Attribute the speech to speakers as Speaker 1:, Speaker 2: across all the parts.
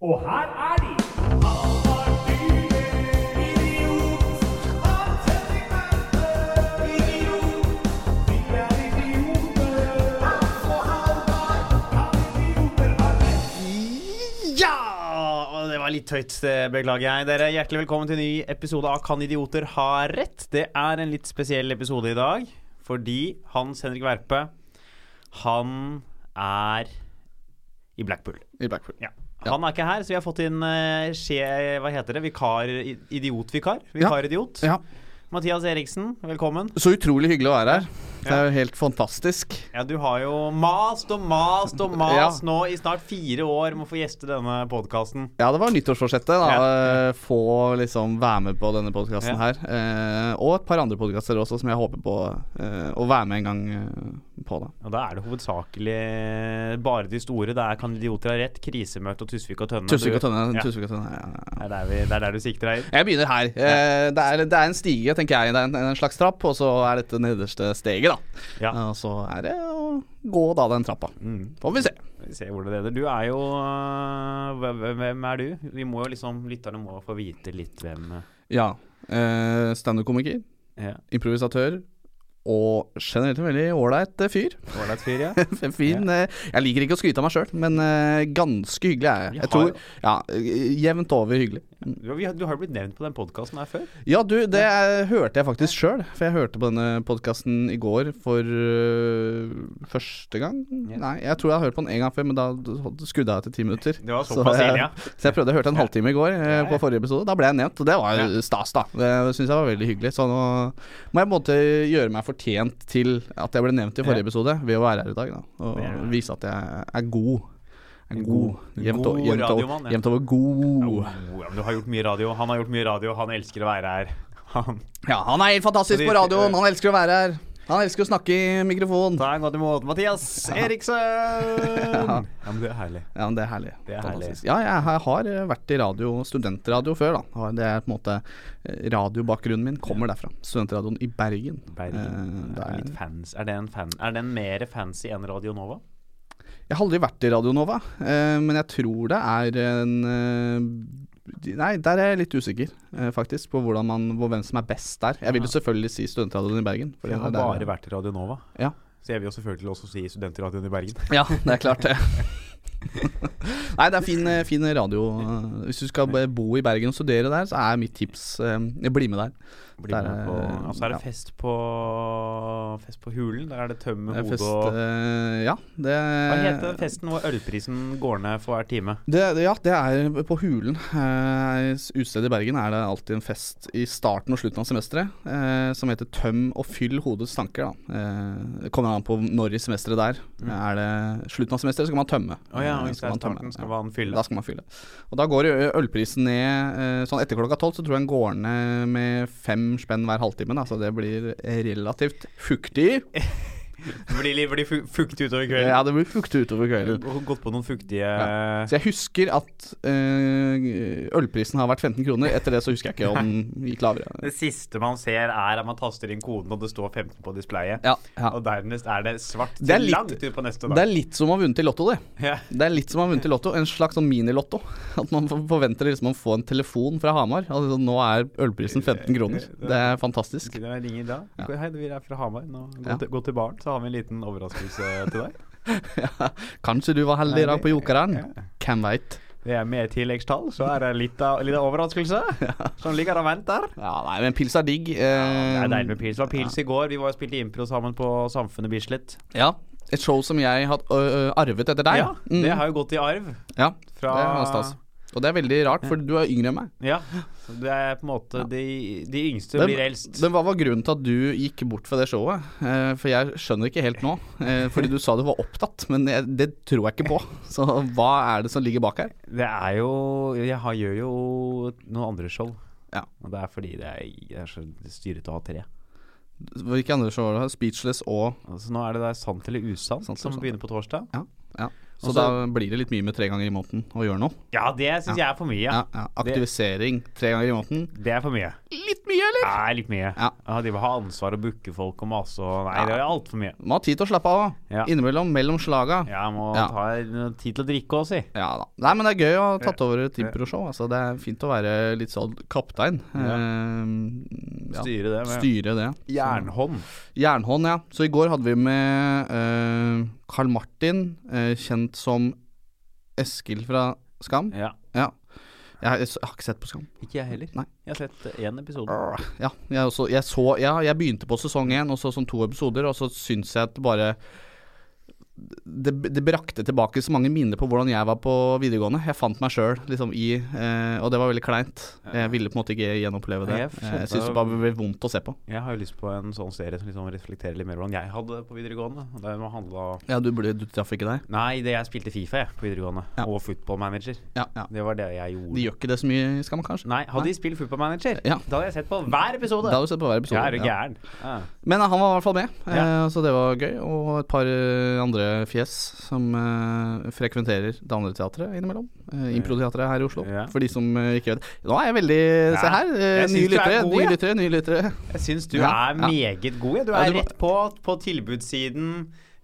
Speaker 1: Og her er de!
Speaker 2: Ja! Og Det var litt høyt, det beklager jeg. Dere, Hjertelig velkommen til en ny episode av Kan idioter ha rett? Det er en litt spesiell episode i dag, fordi Hans Henrik Verpe, han er i Blackpool.
Speaker 3: I Blackpool.
Speaker 2: Ja. Han er ikke her, så vi har fått inn eh, skje... Hva heter det? Vikar... i- Idiotvikar? Vikaridiot.
Speaker 3: Ja.
Speaker 2: Mathias Eriksen, velkommen.
Speaker 3: Så utrolig hyggelig å være her. Det er jo helt fantastisk.
Speaker 2: Ja, du har jo mast og mast og
Speaker 3: Ja.
Speaker 2: mast nå i snart fire år med å få gjeste denne podkasten.
Speaker 3: Ja, det var nyttårsforsettet. da
Speaker 2: Ja.
Speaker 3: eh, Få liksom være med på denne podkasten
Speaker 2: Ja.
Speaker 3: her. Eh, og et par andre podkaster også, som jeg håper på eh, å være med en gang eh, på. da
Speaker 2: Og da er det hovedsakelig bare de store. Det er Kan idioter ha rett, Krisemøte og Tusvik og Tønne.
Speaker 3: Tusvik og
Speaker 2: Du-
Speaker 3: Tønne.
Speaker 2: Ja.
Speaker 3: Tusvik og tønne ja, ja, ja.
Speaker 2: Det er der, vi, det er der du sikter deg inn.
Speaker 3: Jeg begynner her. Eh, det, er, det er en stige, tenker jeg. Det er en, en slags trapp, og så er dette nederste steget, da.
Speaker 2: Ja. Mm.
Speaker 3: Eh, Og så er det å gå da den trappa. Får vi se.
Speaker 2: Vi ser hvor det leder. Du er jo øh, hvem- Hvem hvem er du? Vi må jo liksom Lytterne må få vite litt hvem
Speaker 3: Ja. Eh, Standup-komiker,
Speaker 2: øh, ja.
Speaker 3: improvisatør og generelt en veldig ålreit eh, fyr.
Speaker 2: Ålreit fyr, ja.
Speaker 3: En fin eh, Jeg liker ikke å skryte av meg sjøl, men eh, ganske hyggelig er jeg.
Speaker 2: Vi
Speaker 3: jeg
Speaker 2: har-
Speaker 3: tror, ja, eh, jevnt over hyggelig.
Speaker 2: Du, vi har- du har jo blitt nevnt på den podkasten her før.
Speaker 3: Ja, du, det eh, hørte jeg faktisk sjøl. For jeg hørte på denne podkasten i går for eh, første gang.
Speaker 2: Ja.
Speaker 3: Nei, jeg tror jeg har hørt på den en gang før, men da skrudde jeg til ti minutter.
Speaker 2: Det var
Speaker 3: Så
Speaker 2: såpass
Speaker 3: jeg-
Speaker 2: inn, ja.
Speaker 3: Så jeg prøvde å høre en halvtime i går eh, på forrige episode. Da ble jeg nevnt, og det var jo stas, da. Det syns jeg var veldig hyggelig. Så nå må jeg på en måte gjøre meg fortjent til at jeg ble nevnt i
Speaker 2: Ja.
Speaker 3: forrige episode, ved å være her i dag, da.
Speaker 2: Det er
Speaker 3: Og
Speaker 2: det.
Speaker 3: vise at jeg er god. Er god.
Speaker 2: god-
Speaker 3: Jevnt
Speaker 2: god
Speaker 3: over, jevnt over,
Speaker 2: radiomann, ja.
Speaker 3: jevnt over god.
Speaker 2: Oh, ja, men du har gjort mye radio. Han har gjort mye radio, han elsker å være her. Han
Speaker 3: Ja, han er helt fantastisk på radioen. Han elsker å være her. Han elsker å snakke i mikrofon.
Speaker 2: Ta en godt imot Mathias Eriksen! Ja, men det er herlig.
Speaker 3: Ja, men det er herlig.
Speaker 2: Det er
Speaker 3: Fantastisk. Ja, jeg har- har eh, vært i radio, studentradio før, da. Har- Det er på en måte eh, Radiobakgrunnen min kommer derfra. Studentradioen i Bergen.
Speaker 2: Bergen.
Speaker 3: Eh, det er-
Speaker 2: litt fans. Er det en fan? Er den mer fancy enn Radio Nova?
Speaker 3: Jeg har aldri vært i Radio Nova, eh, men jeg tror det er en eh, Nei, der er jeg litt usikker, eh, faktisk, på hvordan man, hvor, hvem som er best der. Jeg vil jo selvfølgelig si Studentradioen i Bergen. fordi
Speaker 2: Jeg har
Speaker 3: det er
Speaker 2: bare
Speaker 3: der-
Speaker 2: vært i Radio Nova.
Speaker 3: Ja.
Speaker 2: Så jeg vil jo selvfølgelig også si Studentradioen i Bergen.
Speaker 3: Ja, det er klart det. Nei, det er fin, fin radio. Hvis du skal bo i Bergen og studere der, så er mitt tips eh, bli med der.
Speaker 2: Blir
Speaker 3: Der
Speaker 2: med
Speaker 3: er-
Speaker 2: på, altså er det
Speaker 3: ja.
Speaker 2: fest på Fest på Hulen. Der er det tømme
Speaker 3: Det er
Speaker 2: hodet
Speaker 3: Fest,
Speaker 2: og
Speaker 3: eh, ja, det
Speaker 2: Hva heter den festen hvor ølprisen går ned for hver time?
Speaker 3: Det, ja, det er på Hulen. Eh, utstedet i Bergen er det alltid en fest i starten og slutten av semesteret eh, som heter Tøm og fyll hodets tanker. Da. Eh, det kommer an på når i semesteret det er. Er det slutten av semesteret, så kan man tømme.
Speaker 2: Mm. Å ja,
Speaker 3: Eh,
Speaker 2: hvis det er
Speaker 3: skal man tømme.
Speaker 2: starten,
Speaker 3: Ja.
Speaker 2: skal man fylle.
Speaker 3: Da skal man fylle. Og da går ø- ølprisen ned eh, sånn etter klokka tolv, så tror jeg den går ned med fem spenn hver halvtime. Da, så det blir relativt fuktig.
Speaker 2: Blir litt blir fu- fuktig utover
Speaker 3: Ja,
Speaker 2: kvelden.
Speaker 3: det blir fuktig utover kvelden.
Speaker 2: Gått på noen fuktige
Speaker 3: Så jeg husker at eh, ølprisen har vært 15 kroner. Etter det så husker jeg ikke om den gikk lavere.
Speaker 2: Det siste man ser, er at man taster inn koden, og det står 15 på displayet.
Speaker 3: Ja, ja.
Speaker 2: Og dernest er det svart
Speaker 3: Det er
Speaker 2: til
Speaker 3: litt-
Speaker 2: langt ut på neste
Speaker 3: Det
Speaker 2: dag.
Speaker 3: er litt som å ha vunnet i Lotto, det.
Speaker 2: Ja.
Speaker 3: Det er litt som å ha vunnet i Lotto. En slags sånn minilotto. At man for- forventer liksom å få en telefon fra Hamar. Altså, nå er ølprisen 15 kroner. Det er fantastisk.
Speaker 2: Skal dere ringe i dag? Hei, vi er fra Hamar. Nå, gå,
Speaker 3: Ja.
Speaker 2: til, gå til baren, så har vi en liten overraskelse til deg.
Speaker 3: Kanskje du var heldig i dag på jokeren?
Speaker 2: Ja.
Speaker 3: Hvem veit?
Speaker 2: Det er med tilleggstall, så er det en liten, liten overraskelse som ligger og venter.
Speaker 3: Ja, nei, men pils er digg. Eh,
Speaker 2: Det er deilig med pils. Det var pils i går. Vi var og spilte impro sammen på Samfunnet Bislett.
Speaker 3: Ja, et show som jeg har ø, ø, arvet etter deg.
Speaker 2: Ja,
Speaker 3: Mm.
Speaker 2: det har jo gått i arv.
Speaker 3: ja
Speaker 2: fra-
Speaker 3: det var stas. Og det er veldig rart, for du er yngre enn meg.
Speaker 2: Ja. Så Det er på en måte de, de yngste
Speaker 3: Men-
Speaker 2: blir eldst.
Speaker 3: Men hva var grunnen til at du gikk bort fra det showet? Eh, for jeg skjønner ikke helt nå. Eh, fordi du sa du var opptatt, men jeg, det tror jeg ikke på. Så hva er det som ligger bak her?
Speaker 2: Det er jo Jeg har, gjør jo noen andre show.
Speaker 3: Ja.
Speaker 2: Og det er fordi det er, det er så styrete å ha tre.
Speaker 3: Hvilke andre show har du? Speechless og
Speaker 2: Altså, nå er det der Sant eller usant
Speaker 3: Sant eller
Speaker 2: som
Speaker 3: usant,
Speaker 2: begynner på torsdag.
Speaker 3: Ja. ja. Så
Speaker 2: Også-
Speaker 3: da blir det litt mye med tre ganger i måneden å gjøre noe.
Speaker 2: Ja, det syns jeg er for mye.
Speaker 3: Ja, ja. Aktivisering tre ganger i måneden.
Speaker 2: Det er for mye.
Speaker 3: Litt mye, eller?
Speaker 2: Det er litt mye.
Speaker 3: Ja.
Speaker 2: Ja, de vil ha ansvar og booke folk og mase og Nei,
Speaker 3: Ja.
Speaker 2: det er altfor mye.
Speaker 3: Må ha tid til å slappe av.
Speaker 2: Ja.
Speaker 3: Innimellom mellom slaga. Ja.
Speaker 2: Jeg må
Speaker 3: Ja.
Speaker 2: ta noe tid til å drikke òg, si.
Speaker 3: da. Nei, men det er gøy å ha tatt over et impro-show. Altså, det er fint å være litt sånn kaptein. Eh, ja.
Speaker 2: Styre det med
Speaker 3: Styre det.
Speaker 2: jernhånd.
Speaker 3: Jernhånd, ja. Så i går hadde vi med eh, Carl Martin, eh, kjent som Eskil fra Skam.
Speaker 2: Ja.
Speaker 3: Ja. Jeg, jeg, har ikke sett på Skam.
Speaker 2: Ikke jeg heller.
Speaker 3: Nei.
Speaker 2: Jeg har sett én episode.
Speaker 3: Arr. Ja, jeg, også, jeg så Ja, jeg begynte på sesong én, og så sånn to episoder, og så syns jeg at bare det, det brakte tilbake så mange minner på hvordan jeg var på videregående. Jeg fant meg sjøl liksom i eh, Og det var veldig kleint. Jeg ville på en måte ikke gjenoppleve det.
Speaker 2: Nei, jeg
Speaker 3: Jeg,
Speaker 2: skjønte-
Speaker 3: jeg syns det bare ble vondt å se på.
Speaker 2: Jeg har jo lyst på en sånn serie som liksom reflekterer litt mer hvordan jeg hadde det på videregående. Og Det må handle om
Speaker 3: Ja, du, ble, du traff ikke deg?
Speaker 2: Nei, det jeg spilte Fifa jeg, på videregående.
Speaker 3: Ja.
Speaker 2: Og Football Manager.
Speaker 3: Ja, ja.
Speaker 2: Det var det jeg gjorde.
Speaker 3: De gjør ikke det så mye i Skam, kanskje?
Speaker 2: Nei, hadde de spilt Football Manager,
Speaker 3: Ja.
Speaker 2: da hadde jeg sett på hver episode.
Speaker 3: Da har du sett på hver episode.
Speaker 2: Ja, er du
Speaker 3: ja.
Speaker 2: gæren? Ja.
Speaker 3: Men eh, han var i hvert fall med,
Speaker 2: Ja.
Speaker 3: eh, så det var gøy. Og et par eh, andre fjes som eh, frekventerer det andre teatret innimellom. Eh, Improteatret her i Oslo,
Speaker 2: Ja.
Speaker 3: for de som eh, ikke vet Nå er jeg veldig Se
Speaker 2: Ja.
Speaker 3: her! eh,
Speaker 2: Jeg
Speaker 3: nye
Speaker 2: synes du er
Speaker 3: lyttere,
Speaker 2: god,
Speaker 3: nye
Speaker 2: ja.
Speaker 3: lyttere, nye lyttere.
Speaker 2: Jeg syns du
Speaker 3: Ja,
Speaker 2: er
Speaker 3: ja.
Speaker 2: meget god. Ja. Du er
Speaker 3: Ja, du må-
Speaker 2: rett på på tilbudssiden.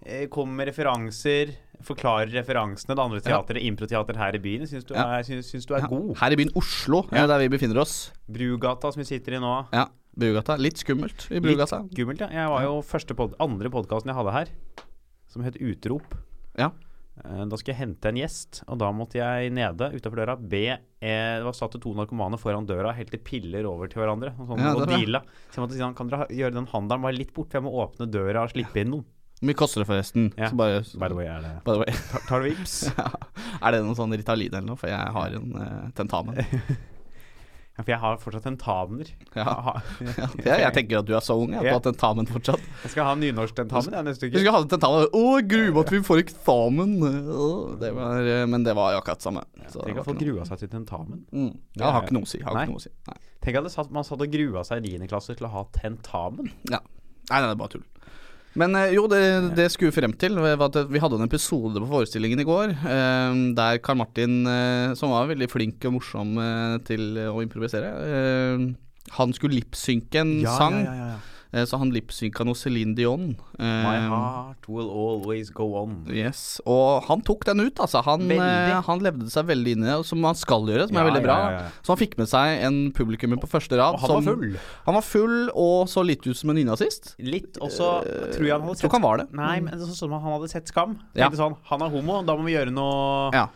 Speaker 2: eh, Kommer med referanser, forklarer referansene. Det andre teatret, improteater her i byen, jeg syns du,
Speaker 3: Ja.
Speaker 2: er- jeg synes, synes du er
Speaker 3: Ja.
Speaker 2: god.
Speaker 3: Her i byen Oslo, eh,
Speaker 2: Ja.
Speaker 3: der vi befinner oss.
Speaker 2: Brugata, som vi sitter i nå.
Speaker 3: Ja, Brugata. Litt skummelt i
Speaker 2: Litt
Speaker 3: Brugata.
Speaker 2: skummelt, ja. Jeg var jo første pod andre podkasten jeg hadde her, som het Utrop.
Speaker 3: Ja.
Speaker 2: Eh, Da skulle jeg hente en gjest, og da måtte jeg nede utafor døra be eh, Det var satt to narkomane foran døra og helte piller over til hverandre. Og sånn,
Speaker 3: Ja,
Speaker 2: og
Speaker 3: det er bra.
Speaker 2: deala. Så jeg måtte si sånn, kan dere ha- gjøre den handelen bare litt bort, for jeg må åpne døra og slippe inn noen.
Speaker 3: Hvor mye koster det, forresten?
Speaker 2: Ja.
Speaker 3: Så bare,
Speaker 2: By the way, er det
Speaker 3: by the way.
Speaker 2: Tar, tar du vips?
Speaker 3: Ja. Er det noen sånn Ritalin eller noe? For jeg har en eh, tentamen.
Speaker 2: Ja, for jeg har fortsatt tentamener.
Speaker 3: Ja.
Speaker 2: Aha.
Speaker 3: Ja, det- jeg tenker at du er så ung, jeg, at du
Speaker 2: Ja.
Speaker 3: har tentamen fortsatt.
Speaker 2: Jeg skal ha nynorsktentamen jeg, neste
Speaker 3: Vi
Speaker 2: uke.
Speaker 3: skulle hatt tentamen. Å, jeg gruer meg at vi får eksamen. Å, Det var, eh, men det var jo akkurat samme. Så Mm. det
Speaker 2: Tenk
Speaker 3: var
Speaker 2: at folk
Speaker 3: ikke noe.
Speaker 2: grua seg til tentamen.
Speaker 3: Mm. Ja, har ikke noe å si. Har
Speaker 2: Nei.
Speaker 3: ikke noe å si. Nei.
Speaker 2: Tenk at det satt, man satt og grua seg i 9. klasse til å ha tentamen.
Speaker 3: Ja. Nei, nei, det er bare tull. Men eh, jo, det, det skulle vi frem til. var at Vi hadde en episode på forestillingen i går eh, der Karl Martin, eh, som var veldig flink og morsom eh, til å improvisere eh, Han skulle lipsynke en sang, eh, så han lipsynka noe Céline Dion. eh,
Speaker 2: My heart will always go on.
Speaker 3: Yes, og han tok den ut, altså. Han,
Speaker 2: Veldig.
Speaker 3: eh, han levde seg veldig inn i det, og som han skal gjøre, som
Speaker 2: Ja,
Speaker 3: er
Speaker 2: ja,
Speaker 3: veldig bra.
Speaker 2: ja, ja.
Speaker 3: Så han fikk med seg en publikummer på første rad.
Speaker 2: Og han var
Speaker 3: som-
Speaker 2: full.
Speaker 3: Han var full og så litt ut som en nynazist.
Speaker 2: Litt også, tror jeg han hadde
Speaker 3: Eh, Tror
Speaker 2: sett
Speaker 3: ikke han var det.
Speaker 2: Nei, men det er sånn som han hadde sett Skam.
Speaker 3: Ja.
Speaker 2: Tenkte sånn, Han er homo, da må vi gjøre noe
Speaker 3: Ja.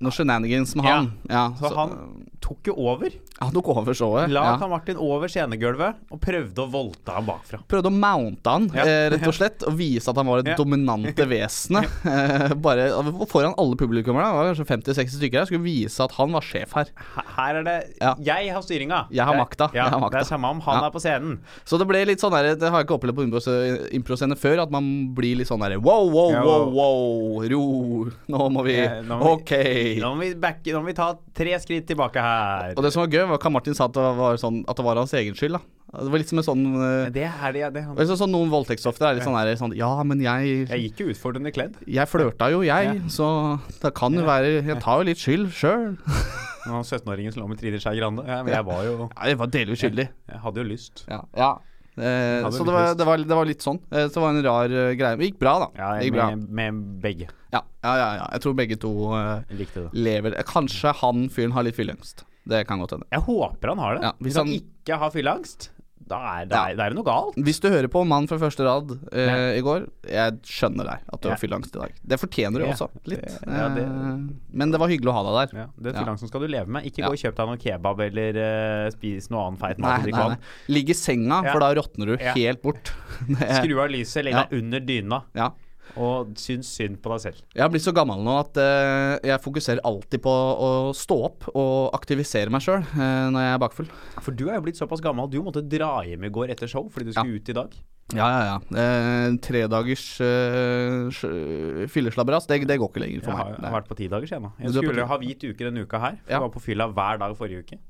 Speaker 3: Noe shenanigans med han. Ja,
Speaker 2: Så han tok jo over.
Speaker 3: han tok over showet.
Speaker 2: La
Speaker 3: ja.
Speaker 2: Karl Martin over scenegulvet og prøvde å voldta ham bakfra.
Speaker 3: Prøvde å mounte han,
Speaker 2: Ja.
Speaker 3: eh, rett og slett, og vise at han var det
Speaker 2: Ja.
Speaker 3: dominante vesenet. Eh, Bare foran alle publikummerne, det var kanskje 50-60 stykker her, skulle vise at han var sjef her.
Speaker 2: Her er det
Speaker 3: Ja.
Speaker 2: Jeg har styringa.
Speaker 3: Jeg har
Speaker 2: Det-
Speaker 3: makta.
Speaker 2: Ja,
Speaker 3: Jeg har
Speaker 2: Det
Speaker 3: makta.
Speaker 2: er samme om han
Speaker 3: Ja.
Speaker 2: er på scenen.
Speaker 3: Så det ble litt sånn der, det har jeg ikke opplevd på impro- improscene før, at man blir litt sånn der wow, wow,
Speaker 2: Ja, wow.
Speaker 3: wow, wow, ro, nå må vi,
Speaker 2: Ja, nå må
Speaker 3: ok.
Speaker 2: Nå må vi, backe, nå må vi ta tre skritt tilbake her.
Speaker 3: Og det som var gøy, var hva Martin sa, at det var, sånn, at det var hans egen skyld, da. Det var litt som en sånn, eh,
Speaker 2: Det er det, det
Speaker 3: det er sånn, sånn noen voldtektsofre er litt sånn der, sånn, ja, men jeg,
Speaker 2: Jeg gikk jo utfordrende kledd.
Speaker 3: jeg flørta jo jeg, så det kan jo være, jeg tar jo litt skyld sjøl.
Speaker 2: Men han 17-åringen som lå med Trine Skei Grande. Ja, men jeg var jo
Speaker 3: Ja, jeg var delvis skyldig.
Speaker 2: Jeg hadde jo lyst.
Speaker 3: Ja. ja. Eh,
Speaker 2: Ja, det
Speaker 3: så
Speaker 2: var
Speaker 3: det
Speaker 2: litt
Speaker 3: var,
Speaker 2: trist.
Speaker 3: det, var, det var litt sånn. Eh, så det var en rar eh, greie. Men det gikk bra, da.
Speaker 2: Ja,
Speaker 3: det gikk bra.
Speaker 2: med, med begge.
Speaker 3: Ja, ja, ja, ja. Jeg tror begge to eh,
Speaker 2: Jeg likte det.
Speaker 3: lever Kanskje han fyren har litt fylleangst. Det kan godt hende.
Speaker 2: Jeg håper han har det.
Speaker 3: Ja, hvis
Speaker 2: hvis, han,
Speaker 3: han-
Speaker 2: ikke har fylleangst, da er det,
Speaker 3: Ja.
Speaker 2: det er det noe galt.
Speaker 3: Hvis du hører på Mann fra første rad eh, i går, jeg skjønner deg at du
Speaker 2: Ja.
Speaker 3: har fylleangst i dag. Det fortjener du
Speaker 2: Ja,
Speaker 3: også, litt.
Speaker 2: det- ja, det-
Speaker 3: Eh, men det var hyggelig å ha deg der.
Speaker 2: Ja, det
Speaker 3: Ja.
Speaker 2: fylleangsten skal du leve med. Ikke
Speaker 3: Ja.
Speaker 2: gå og kjøp deg noe kebab eller eh, spis noe annen feit
Speaker 3: Nei,
Speaker 2: mat. du
Speaker 3: nei,
Speaker 2: kan.
Speaker 3: nei. Ligg i senga,
Speaker 2: Ja.
Speaker 3: for da råtner du
Speaker 2: Ja.
Speaker 3: helt bort. Det-
Speaker 2: Skru av lyset, legg
Speaker 3: Ja.
Speaker 2: deg under dyna,
Speaker 3: ja.
Speaker 2: og syns synd på deg selv.
Speaker 3: Jeg har blitt så gammel nå at eh, jeg fokuserer alltid på å stå opp og aktivisere meg sjøl når jeg er bakfull.
Speaker 2: For du er jo blitt såpass gammel, du måtte dra hjem i går etter show fordi du skulle ut i dag.
Speaker 3: Ja, ja, ja. Eh, Tredagers eh, sj- fylleslabberas, det, det går ikke lenger for
Speaker 2: Jeg
Speaker 3: meg.
Speaker 2: har,
Speaker 3: Det
Speaker 2: har
Speaker 3: er-
Speaker 2: vært på ti dager skjema.
Speaker 3: Du
Speaker 2: Jeg
Speaker 3: er på ti-
Speaker 2: skulle ha hvit uke denne uka her. for
Speaker 3: Ja.
Speaker 2: Jeg var på fylla hver dag forrige uke.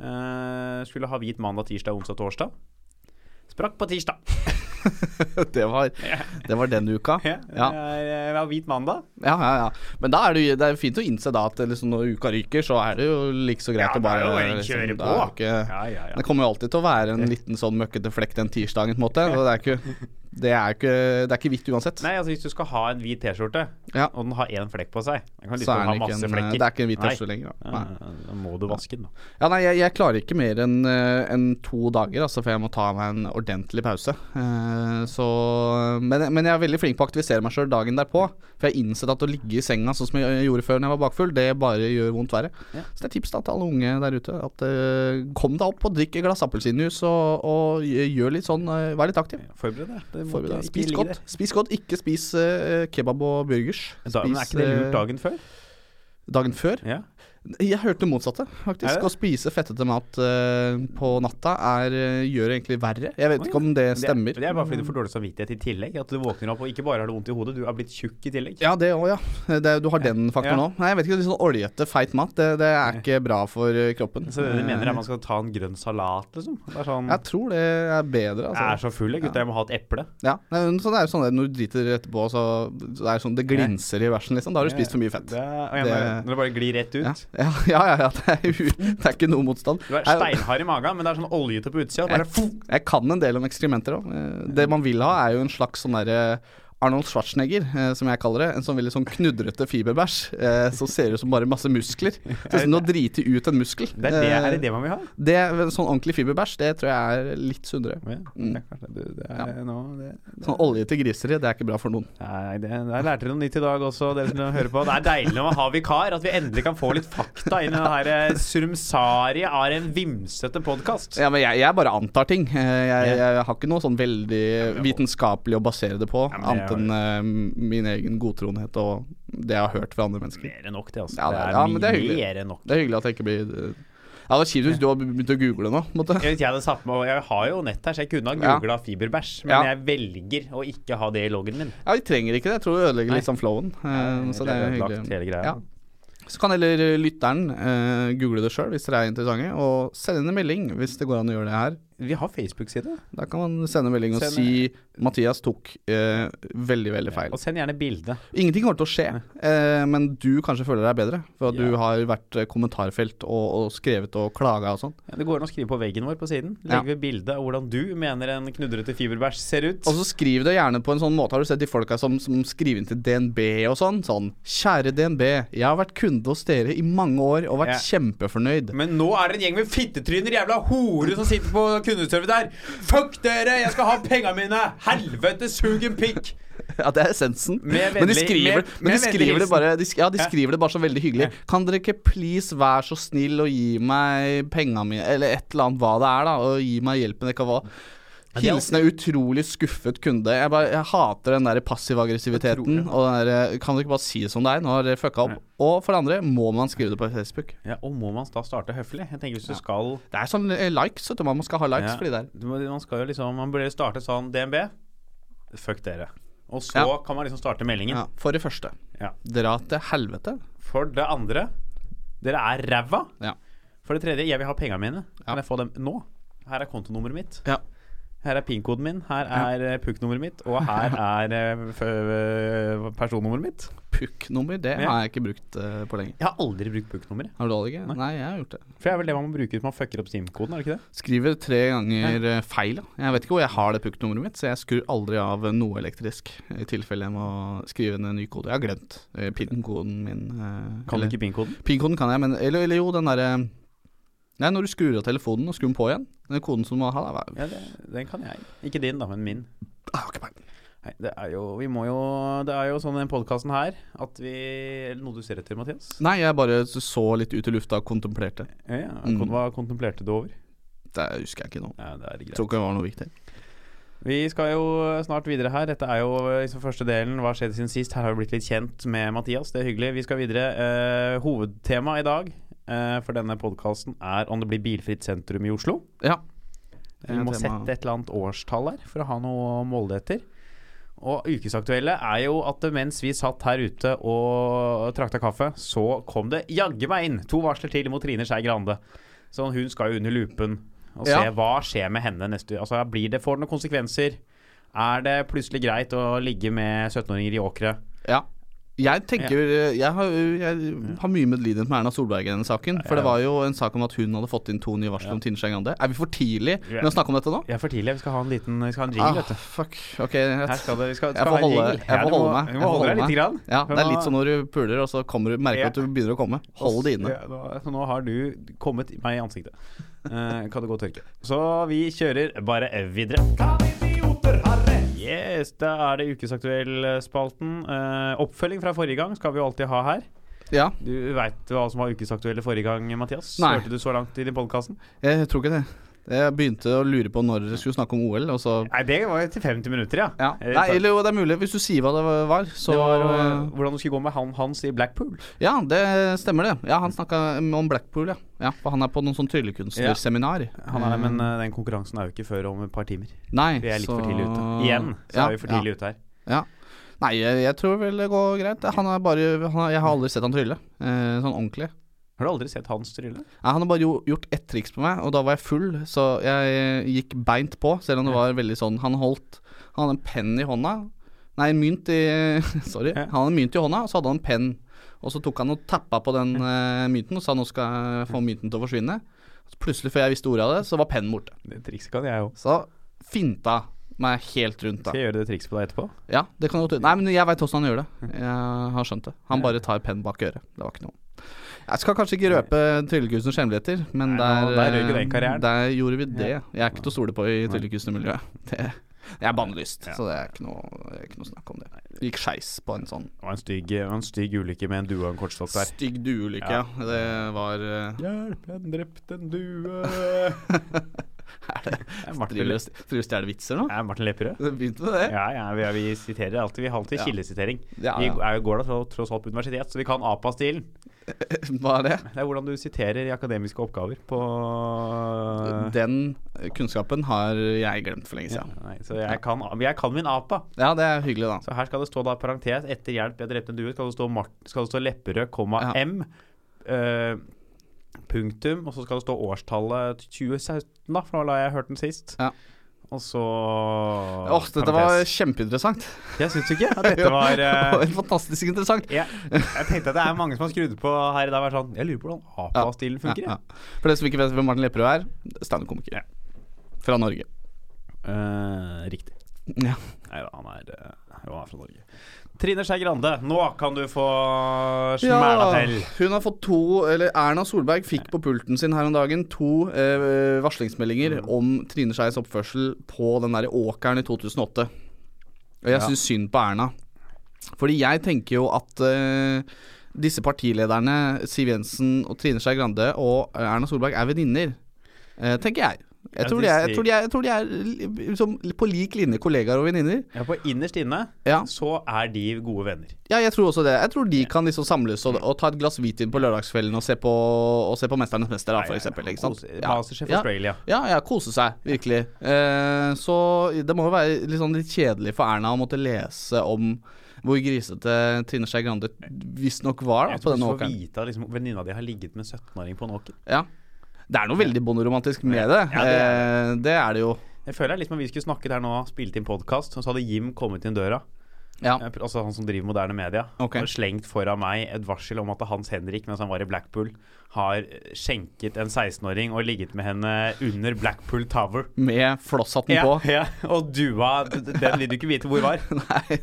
Speaker 2: Eh, skulle ha hvit mandag, tirsdag, onsdag, torsdag. Sprakk på tirsdag.
Speaker 3: det, var, det var den uka.
Speaker 2: Ja, det
Speaker 3: Ja.
Speaker 2: er, eh, det er hvit mandag.
Speaker 3: Ja, ja, ja. Men da er det, jo- det er fint å innse da at liksom, når uka ryker, så er det jo like så greit
Speaker 2: Ja,
Speaker 3: å
Speaker 2: da er
Speaker 3: bare
Speaker 2: det jo
Speaker 3: liksom
Speaker 2: bare å kjøre
Speaker 3: da er
Speaker 2: på.
Speaker 3: det ikke,
Speaker 2: Ja, ja, ja.
Speaker 3: Det kommer jo alltid til å være en liten sånn møkkete flekk den tirsdagen, på en måte. Så det er ikke, det er ikke, det er ikke hvitt uansett.
Speaker 2: Nei, altså Hvis du skal ha en hvit T-skjorte,
Speaker 3: Ja.
Speaker 2: og den har én flekk på seg Da kan du ikke
Speaker 3: Så er
Speaker 2: ha
Speaker 3: den ikke
Speaker 2: masse
Speaker 3: en, eh,
Speaker 2: flekker.
Speaker 3: det er ikke en hvit
Speaker 2: Nei.
Speaker 3: tørste lenger. Da. Nei.
Speaker 2: Ja, Da må du vaske den, da.
Speaker 3: Ja, nei, jeg, jeg klarer ikke mer enn eh, enn to dager, altså, for jeg må ta meg en ordentlig pause. Eh, så, men, men jeg er veldig flink på å aktivisere meg sjøl dagen derpå. For jeg har innsett at å ligge i senga sånn som jeg gjorde før når jeg var bakfull, det bare gjør vondt verre.
Speaker 2: Ja.
Speaker 3: Så det er tips da til alle unge der ute. At eh, kom deg opp og drikk et glass appelsinjuice og, og gjør litt sånn, eh, vær litt aktiv.
Speaker 2: Forbered deg. Det må ikke-
Speaker 3: Forbered
Speaker 2: ikke
Speaker 3: deg. Spis
Speaker 2: ligge
Speaker 3: godt.
Speaker 2: der.
Speaker 3: Spis godt, ikke spis eh, kebab og burgers.
Speaker 2: Da, men Er ikke det
Speaker 3: Spis, eh,
Speaker 2: lurt dagen før?
Speaker 3: dagen før?
Speaker 2: Ja.
Speaker 3: Jeg hørte det
Speaker 2: Er
Speaker 3: motsatte,
Speaker 2: det?
Speaker 3: faktisk. Å spise fettete mat eh, på natta er, eh, gjør det egentlig verre. Jeg vet ikke om det
Speaker 2: Det
Speaker 3: stemmer.
Speaker 2: er, det er bare fordi du får dårlig samvittighet i tillegg. At du våkner opp og ikke bare har det vondt i hodet, du er blitt tjukk i tillegg.
Speaker 3: Ja, det òg, ja. Det, du har den faktoren
Speaker 2: Ja.
Speaker 3: òg. Nei, jeg vet ikke. Litt sånn oljete, feit mat, det, det er ikke bra for eh, kroppen.
Speaker 2: Så det de mener er man skal ta en grønn salat, liksom. Det er sånn
Speaker 3: Eh, Jeg tror det er bedre,
Speaker 2: Jeg er
Speaker 3: altså.
Speaker 2: så full, jeg, gutta. Jeg må ha et eple.
Speaker 3: Ja. Nei, men Så det er jo sånn det, når du driter etterpå, så så det er sånn det glinser i versen, liksom. Da har du spist for mye fett.
Speaker 2: Det, og jeg,
Speaker 3: Det-
Speaker 2: Når det bare glir rett ut.
Speaker 3: Ja, ja, ja. ja, Det, er, jo- det er ikke noe motstand.
Speaker 2: Du er
Speaker 3: Jeg-
Speaker 2: steinhard i magen, men det er sånn oljete på utsida. Bare
Speaker 3: Jeg, jeg kan en del om ekskrementer òg. Det man vil ha, er jo en slags sånn derre Arnold Schwarzenegger, eh, som jeg kaller det. En sånn veldig sånn knudrete fiberbæsj eh, som ser ut som bare masse muskler. Ser ut som du har driti ut en muskel.
Speaker 2: det er, det, er det
Speaker 3: Eh,
Speaker 2: det man vil ha?
Speaker 3: det er sånn ordentlig fiberbæsj, det tror jeg er litt sunnere.
Speaker 2: Ja,
Speaker 3: Mm.
Speaker 2: det er kanskje det, det er nå- det,
Speaker 3: Sånn oljete griseri, det er ikke bra for noen.
Speaker 2: Nei, det, der lærte dere noe nytt i dag også, dere som hører på. Det er deilig når man har vikar, at vi endelig kan få litt fakta inn i den her eh, surmsariet av en vimsete podkast.
Speaker 3: Ja, men jeg, jeg bare antar ting. Eh, Jeg, jeg har ikke noe sånn veldig vitenskapelig å basere det på,
Speaker 2: Ja, men det
Speaker 3: annet enn eh, min egen godtroenhet og det jeg har hørt fra andre mennesker.
Speaker 2: Mer enn nok, det, altså.
Speaker 3: Ja, det
Speaker 2: det
Speaker 3: er-
Speaker 2: er,
Speaker 3: ja, men det er hyggelig.
Speaker 2: mer enn nok.
Speaker 3: Det er hyggelig at jeg ikke blir eh, Ja, det var kjipt hvis du har begynt å google nå. på en Måte.
Speaker 2: Jeg, vet, jeg, hadde satt med, og jeg har jo nett her, så jeg kunne ha googla fiberbæsj, men
Speaker 3: Ja.
Speaker 2: jeg velger å ikke ha det i loggen min.
Speaker 3: Ja, Vi trenger ikke det. Jeg tror det ødelegger litt sånn flowen. eh, så det er
Speaker 2: har lagt
Speaker 3: hyggelig.
Speaker 2: hele greia.
Speaker 3: Ja. Så kan heller eh, lytteren eh, google det sjøl hvis dere er interessante, og sende inn en melding hvis det går an å gjøre det her.
Speaker 2: Vi har Facebook-side,
Speaker 3: Da kan man sende en melding og
Speaker 2: Send-
Speaker 3: si 'Mathias tok eh, veldig, veldig feil'.
Speaker 2: og send gjerne bilde.
Speaker 3: Ingenting kommer til å skje, eh, men du kanskje føler deg bedre. For at
Speaker 2: Ja.
Speaker 3: du har vært eh, kommentarfelt og, og skrevet og klaga og sånn.
Speaker 2: Det går an å skrive på veggen vår på siden.
Speaker 3: Ja.
Speaker 2: Legger vi bilde av hvordan du mener en knudrete fiberbæsj ser ut.
Speaker 3: Og så skriv det gjerne på en sånn måte. Har du sett de folka som, som skriver inn til DNB og sånn? Sånn Kjære DNB, jeg har vært kunde hos dere i mange år og vært kjempefornøyd.
Speaker 2: Men nå er det en gjeng med fittetryner, jævla hore, som sitter på kundeservice der. Fuck dere, jeg skal ha penga mine! Helvete, sug en pikk!
Speaker 3: Ja, det er essensen.
Speaker 2: Med
Speaker 3: men de
Speaker 2: vennlig-
Speaker 3: skriver,
Speaker 2: med-
Speaker 3: men de
Speaker 2: med vennlig
Speaker 3: skriver det
Speaker 2: hilsen.
Speaker 3: bare de, sk- Ja, de
Speaker 2: Ja.
Speaker 3: skriver det bare så veldig hyggelig. Kan dere ikke please være så snill og gi meg penga mine, eller et eller annet hva det er, da, og gi meg hjelpen jeg kan få?
Speaker 2: det er
Speaker 3: Hilsen er utrolig skuffet kunde. Jeg, bare, jeg hater den der passiv-aggressiviteten. Og den der, eh, Kan du ikke bare si det som det er? Nå har dere fucka opp. Og for det andre, må man skrive det på Facebook?
Speaker 2: Ja, og må man da starte høflig? Jeg tenker hvis du skal
Speaker 3: Det er sånn eh, likes, vet du. Man skal ha likes
Speaker 2: Ja.
Speaker 3: fordi det er
Speaker 2: du må- Man skal jo liksom Man burde starte sånn DNB, fuck dere. Og så
Speaker 3: Ja.
Speaker 2: kan man liksom starte meldingen.
Speaker 3: ja. For det første,
Speaker 2: Ja.
Speaker 3: dra til helvete.
Speaker 2: For det andre, dere er ræva.
Speaker 3: Ja.
Speaker 2: For det tredje, jeg vil ha penga mine.
Speaker 3: Ja.
Speaker 2: Kan jeg få dem nå? Her er kontonummeret mitt.
Speaker 3: Ja.
Speaker 2: Her er PIN-koden min, her er eh, PUK-nummeret mitt, og her er eh, f- eh, personnummeret mitt.
Speaker 3: Puck-nummer, det
Speaker 2: Ja.
Speaker 3: har jeg ikke brukt eh, på lenge.
Speaker 2: Jeg har aldri brukt PUK-nummeret.
Speaker 3: Har du det ikke?
Speaker 2: Nei.
Speaker 3: Nei. jeg har gjort det.
Speaker 2: For det er vel det man må bruke hvis man fucker opp SIM-koden, er det ikke det?
Speaker 3: Skriver tre ganger eh, feil. da. Jeg vet ikke hvor jeg har det puck-nummeret mitt, så jeg skrur aldri av eh, noe elektrisk i tilfelle jeg må skrive en ny kode. Jeg har glemt eh, pin-koden min. eh,
Speaker 2: Kan
Speaker 3: eller-
Speaker 2: du ikke PIN-koden?
Speaker 3: Pin-koden kan jeg, men eller, eller jo, den derre Nei, når du skrur av telefonen og skrur den på igjen. Den koden som du må ha, da. hva-
Speaker 2: Ja, det, den kan jeg. Ikke din, da, men min.
Speaker 3: Ah, ok, bye.
Speaker 2: Nei, det er jo Vi må jo Det er jo sånn i den podkasten her at vi Eller noe du ser etter, Mathias?
Speaker 3: Nei, jeg bare så litt ut i lufta og kontemplerte.
Speaker 2: Ja, ja.
Speaker 3: Mm.
Speaker 2: Hva kontemplerte du over?
Speaker 3: Det husker jeg ikke nå.
Speaker 2: Ja, det er greit.
Speaker 3: Tror ikke det var noe viktig.
Speaker 2: Vi skal jo snart videre her. Dette er jo liksom første delen. Hva skjedde siden sist? Her har vi blitt litt kjent med Mathias. Det er hyggelig. Vi skal videre. Eh, hovedtema i dag eh, for denne podkasten er om det blir bilfritt sentrum i Oslo.
Speaker 3: Ja.
Speaker 2: Vi må sette et eller annet årstall her for å ha noe å måle det etter. Og ukesaktuelle er jo at mens vi satt her ute og trakta kaffe, så kom det jaggu meg inn to varsler til mot Trine Skei Grande. Så hun skal jo under lupen og se
Speaker 3: Ja.
Speaker 2: hva skjer med henne neste Altså Blir det, får det noen konsekvenser? Er det plutselig greit å ligge med 17-åringer i åkre?
Speaker 3: Ja. Jeg tenker eh, Jeg har, jeg har mye medlidenhet med Erna Solberg i denne saken. For det var jo en sak om at hun hadde fått inn to nye varsler om Tine Skei Grande. Er vi for tidlig med å snakke om dette nå?
Speaker 2: Det er for tidlig. Vi skal ha en liten Vi skal ha en
Speaker 3: Ah,
Speaker 2: jingle, vet du.
Speaker 3: fuck. Ok, jeg,
Speaker 2: Her skal det, vi skal,
Speaker 3: jeg
Speaker 2: skal
Speaker 3: får
Speaker 2: ha en
Speaker 3: holde,
Speaker 2: jingle.
Speaker 3: jeg
Speaker 2: Ja,
Speaker 3: får
Speaker 2: du må-
Speaker 3: holde meg.
Speaker 2: Du
Speaker 3: Jeg
Speaker 2: må
Speaker 3: får
Speaker 2: holde deg
Speaker 3: holde
Speaker 2: lite grann.
Speaker 3: Ja,
Speaker 2: For
Speaker 3: det er
Speaker 2: nå-
Speaker 3: litt som når du puler, og så kommer, du- merker du at du begynner å komme. Hold det inne.
Speaker 2: Ja, nå- så nå har du kommet meg i ansiktet. Eh, kan du gå og tørke. Så vi kjører bare videre. Yes, da er det ukesaktuell-spalten. Eh, oppfølging fra forrige gang skal vi jo alltid ha her.
Speaker 3: Ja,
Speaker 2: Du veit hva som var ukesaktuelle forrige gang, Mathias?
Speaker 3: Nei.
Speaker 2: Hørte du så langt i den podkasten?
Speaker 3: jeg tror ikke det. Jeg begynte å lure på når dere skulle snakke om OL, og så
Speaker 2: Nei, det var jo til 50 minutter, ja.
Speaker 3: ja.
Speaker 2: Eh,
Speaker 3: Nei, eller jo, det er mulig. Hvis du sier hva det var, så
Speaker 2: det var eh, hvordan du skulle gå med han Hans i Blackpool.
Speaker 3: Ja, det stemmer det. Ja, Han snakka om Blackpool, ja. ja. For han er på noen sånn tryllekunstnerseminar.
Speaker 2: Han er der, men eh, den konkurransen er jo ikke før om et par timer.
Speaker 3: Nei,
Speaker 2: Vi er litt
Speaker 3: så-
Speaker 2: for tidlig ute. Igjen så
Speaker 3: ja,
Speaker 2: er vi for tidlig ute her.
Speaker 3: Ja, ja. Nei, jeg, jeg tror vel det går greit. Han er bare han har, Jeg har aldri sett han trylle. Eh, sånn ordentlig.
Speaker 2: Har du aldri sett Hans trylle?
Speaker 3: Nei, han har bare jo, gjort ett triks på meg, og da var jeg full, så jeg eh, gikk beint på. Selv om det var veldig sånn Han holdt Han hadde en penn i hånda. Nei, en mynt i Sorry.
Speaker 2: Ja.
Speaker 3: Han hadde en mynt i hånda, og så hadde han en penn. Og så tok han og tappa på den eh, mynten og sa nå skal jeg få mynten til å forsvinne. Så plutselig, før jeg visste ordet av det, så var pennen borte.
Speaker 2: Det trikset kan jeg òg.
Speaker 3: Så finta meg helt rundt da.
Speaker 2: Skal jeg gjøre det trikset på deg etterpå?
Speaker 3: Ja, det kan godt Nei, men jeg veit åssen han gjør det. Jeg har skjønt det. Han bare tar penn bak øret. Det var ikke noe. Jeg skal kanskje ikke røpe tryllekunstens hemmeligheter, men
Speaker 2: Nei,
Speaker 3: der,
Speaker 2: nå- der røyk jo den karrieren.
Speaker 3: der gjorde vi det. Jeg er ikke til å stole på i tryllekunstnermiljøet. Det- Jeg er bannlyst, så det er ikke noe, det er ikke noe snakk om det. Gikk skeis på en sånn
Speaker 2: Det var en stygg, det var en stygg ulykke med en due og en kortstokk der.
Speaker 3: stygg dueulykke. Ja. Det var eh,
Speaker 2: Hjelp, jeg drepte en due. er det Martin,
Speaker 3: Driver driver og stjeler vitser nå?
Speaker 2: er Martin Lepperød?
Speaker 3: Begynte med det?
Speaker 2: Ja, ja, vi, er, vi siterer alltid. Vi har alltid
Speaker 3: Ja.
Speaker 2: kildesitering.
Speaker 3: Ja,
Speaker 2: Vi
Speaker 3: ja.
Speaker 2: er jo går da tro- tross alt på universitet, så vi kan APA-stilen.
Speaker 3: Hva er det?
Speaker 2: Det er hvordan du siterer i akademiske oppgaver på Eh.
Speaker 3: Den kunnskapen har jeg glemt for lenge siden.
Speaker 2: Nei, så jeg kan, jeg kan min APA.
Speaker 3: Ja, det er hyggelig, da.
Speaker 2: Så her skal det stå da parentes etter hjelp, jeg drepte en due, skal det stå, Martin, skal det stå Lepperød, komma
Speaker 3: Ja.
Speaker 2: M, eh, punktum, og så skal det stå årstallet 2017, da, for nå la jeg hørt den sist.
Speaker 3: Ja.
Speaker 2: Og så
Speaker 3: Åh, dette var
Speaker 2: parentes.
Speaker 3: kjempeinteressant.
Speaker 2: Jeg syns ikke at dette var eh,
Speaker 3: Det var fantastisk interessant.
Speaker 2: ja, Jeg tenkte at det er mange som har skrudd på her i dag og vært sånn Jeg lurer på hvordan APA-stilen funker.
Speaker 3: Ja,
Speaker 2: Ja,
Speaker 3: ja. For dere som ikke vet hvem Martin Lepperød er,
Speaker 2: Ja.
Speaker 3: standup-komiker. Fra Norge.
Speaker 2: Eh, riktig.
Speaker 3: Ja.
Speaker 2: Nei da, han er, eh, jo, han er fra Norge. Trine Skei Grande, nå kan du få smæla
Speaker 3: Ja,
Speaker 2: til.
Speaker 3: hun har fått to Eller Erna Solberg fikk på pulten sin her om dagen to eh, varslingsmeldinger
Speaker 2: Mm.
Speaker 3: om Trine Skeis oppførsel på den derre åkeren i 2008. Og jeg syns synd på Erna. Fordi jeg tenker jo at eh, disse partilederne, Siv Jensen og Trine Skei Grande og Erna Solberg, er venninner. Eh, tenker jeg. Jeg
Speaker 2: Ja,
Speaker 3: tror,
Speaker 2: de
Speaker 3: de er, jeg,
Speaker 2: sier-
Speaker 3: tror de er, jeg tror de er li- liksom på lik linje kollegaer og venninner.
Speaker 2: Ja, på innerst inne
Speaker 3: Ja.
Speaker 2: så er de gode venner.
Speaker 3: Ja, jeg tror også det. Jeg tror de kan liksom samles
Speaker 2: Mm.
Speaker 3: og, og ta et glass hvitvin på lørdagskvelden og se på, og se på 'Mesternes mester', da, for eksempel. Ikke sant?
Speaker 2: Kose-
Speaker 3: Ja.
Speaker 2: Masterchef
Speaker 3: Ja.
Speaker 2: Australia.
Speaker 3: Ja, ja, kose seg, virkelig. Eh, så det må jo være litt, sånn litt kjedelig for Erna å måtte lese om hvor grisete Trine Skei Grande visstnok var da,
Speaker 2: Jeg
Speaker 3: på
Speaker 2: tror du
Speaker 3: denne
Speaker 2: får
Speaker 3: åkeren.
Speaker 2: vite at liksom, venninna di har ligget med 17-åring på en åker.
Speaker 3: Ja. Det er noe veldig bonderomantisk med det.
Speaker 2: Ja, det
Speaker 3: Eh, det er det jo.
Speaker 2: Jeg føler det er litt som om vi skulle snakket her nå, spilt inn podkast, og så hadde Jim kommet inn døra.
Speaker 3: Ja.
Speaker 2: Eh, Altså han som driver moderne media.
Speaker 3: Ok.
Speaker 2: Og slengt foran meg et varsel om at Hans Henrik, mens han var i Blackpool, har eh, skjenket en 16-åring og ligget med henne under Blackpool Tower.
Speaker 3: Med flosshatten
Speaker 2: Ja,
Speaker 3: på.
Speaker 2: ja, og dua d- d- Den vil du ikke vite hvor var.
Speaker 3: Nei.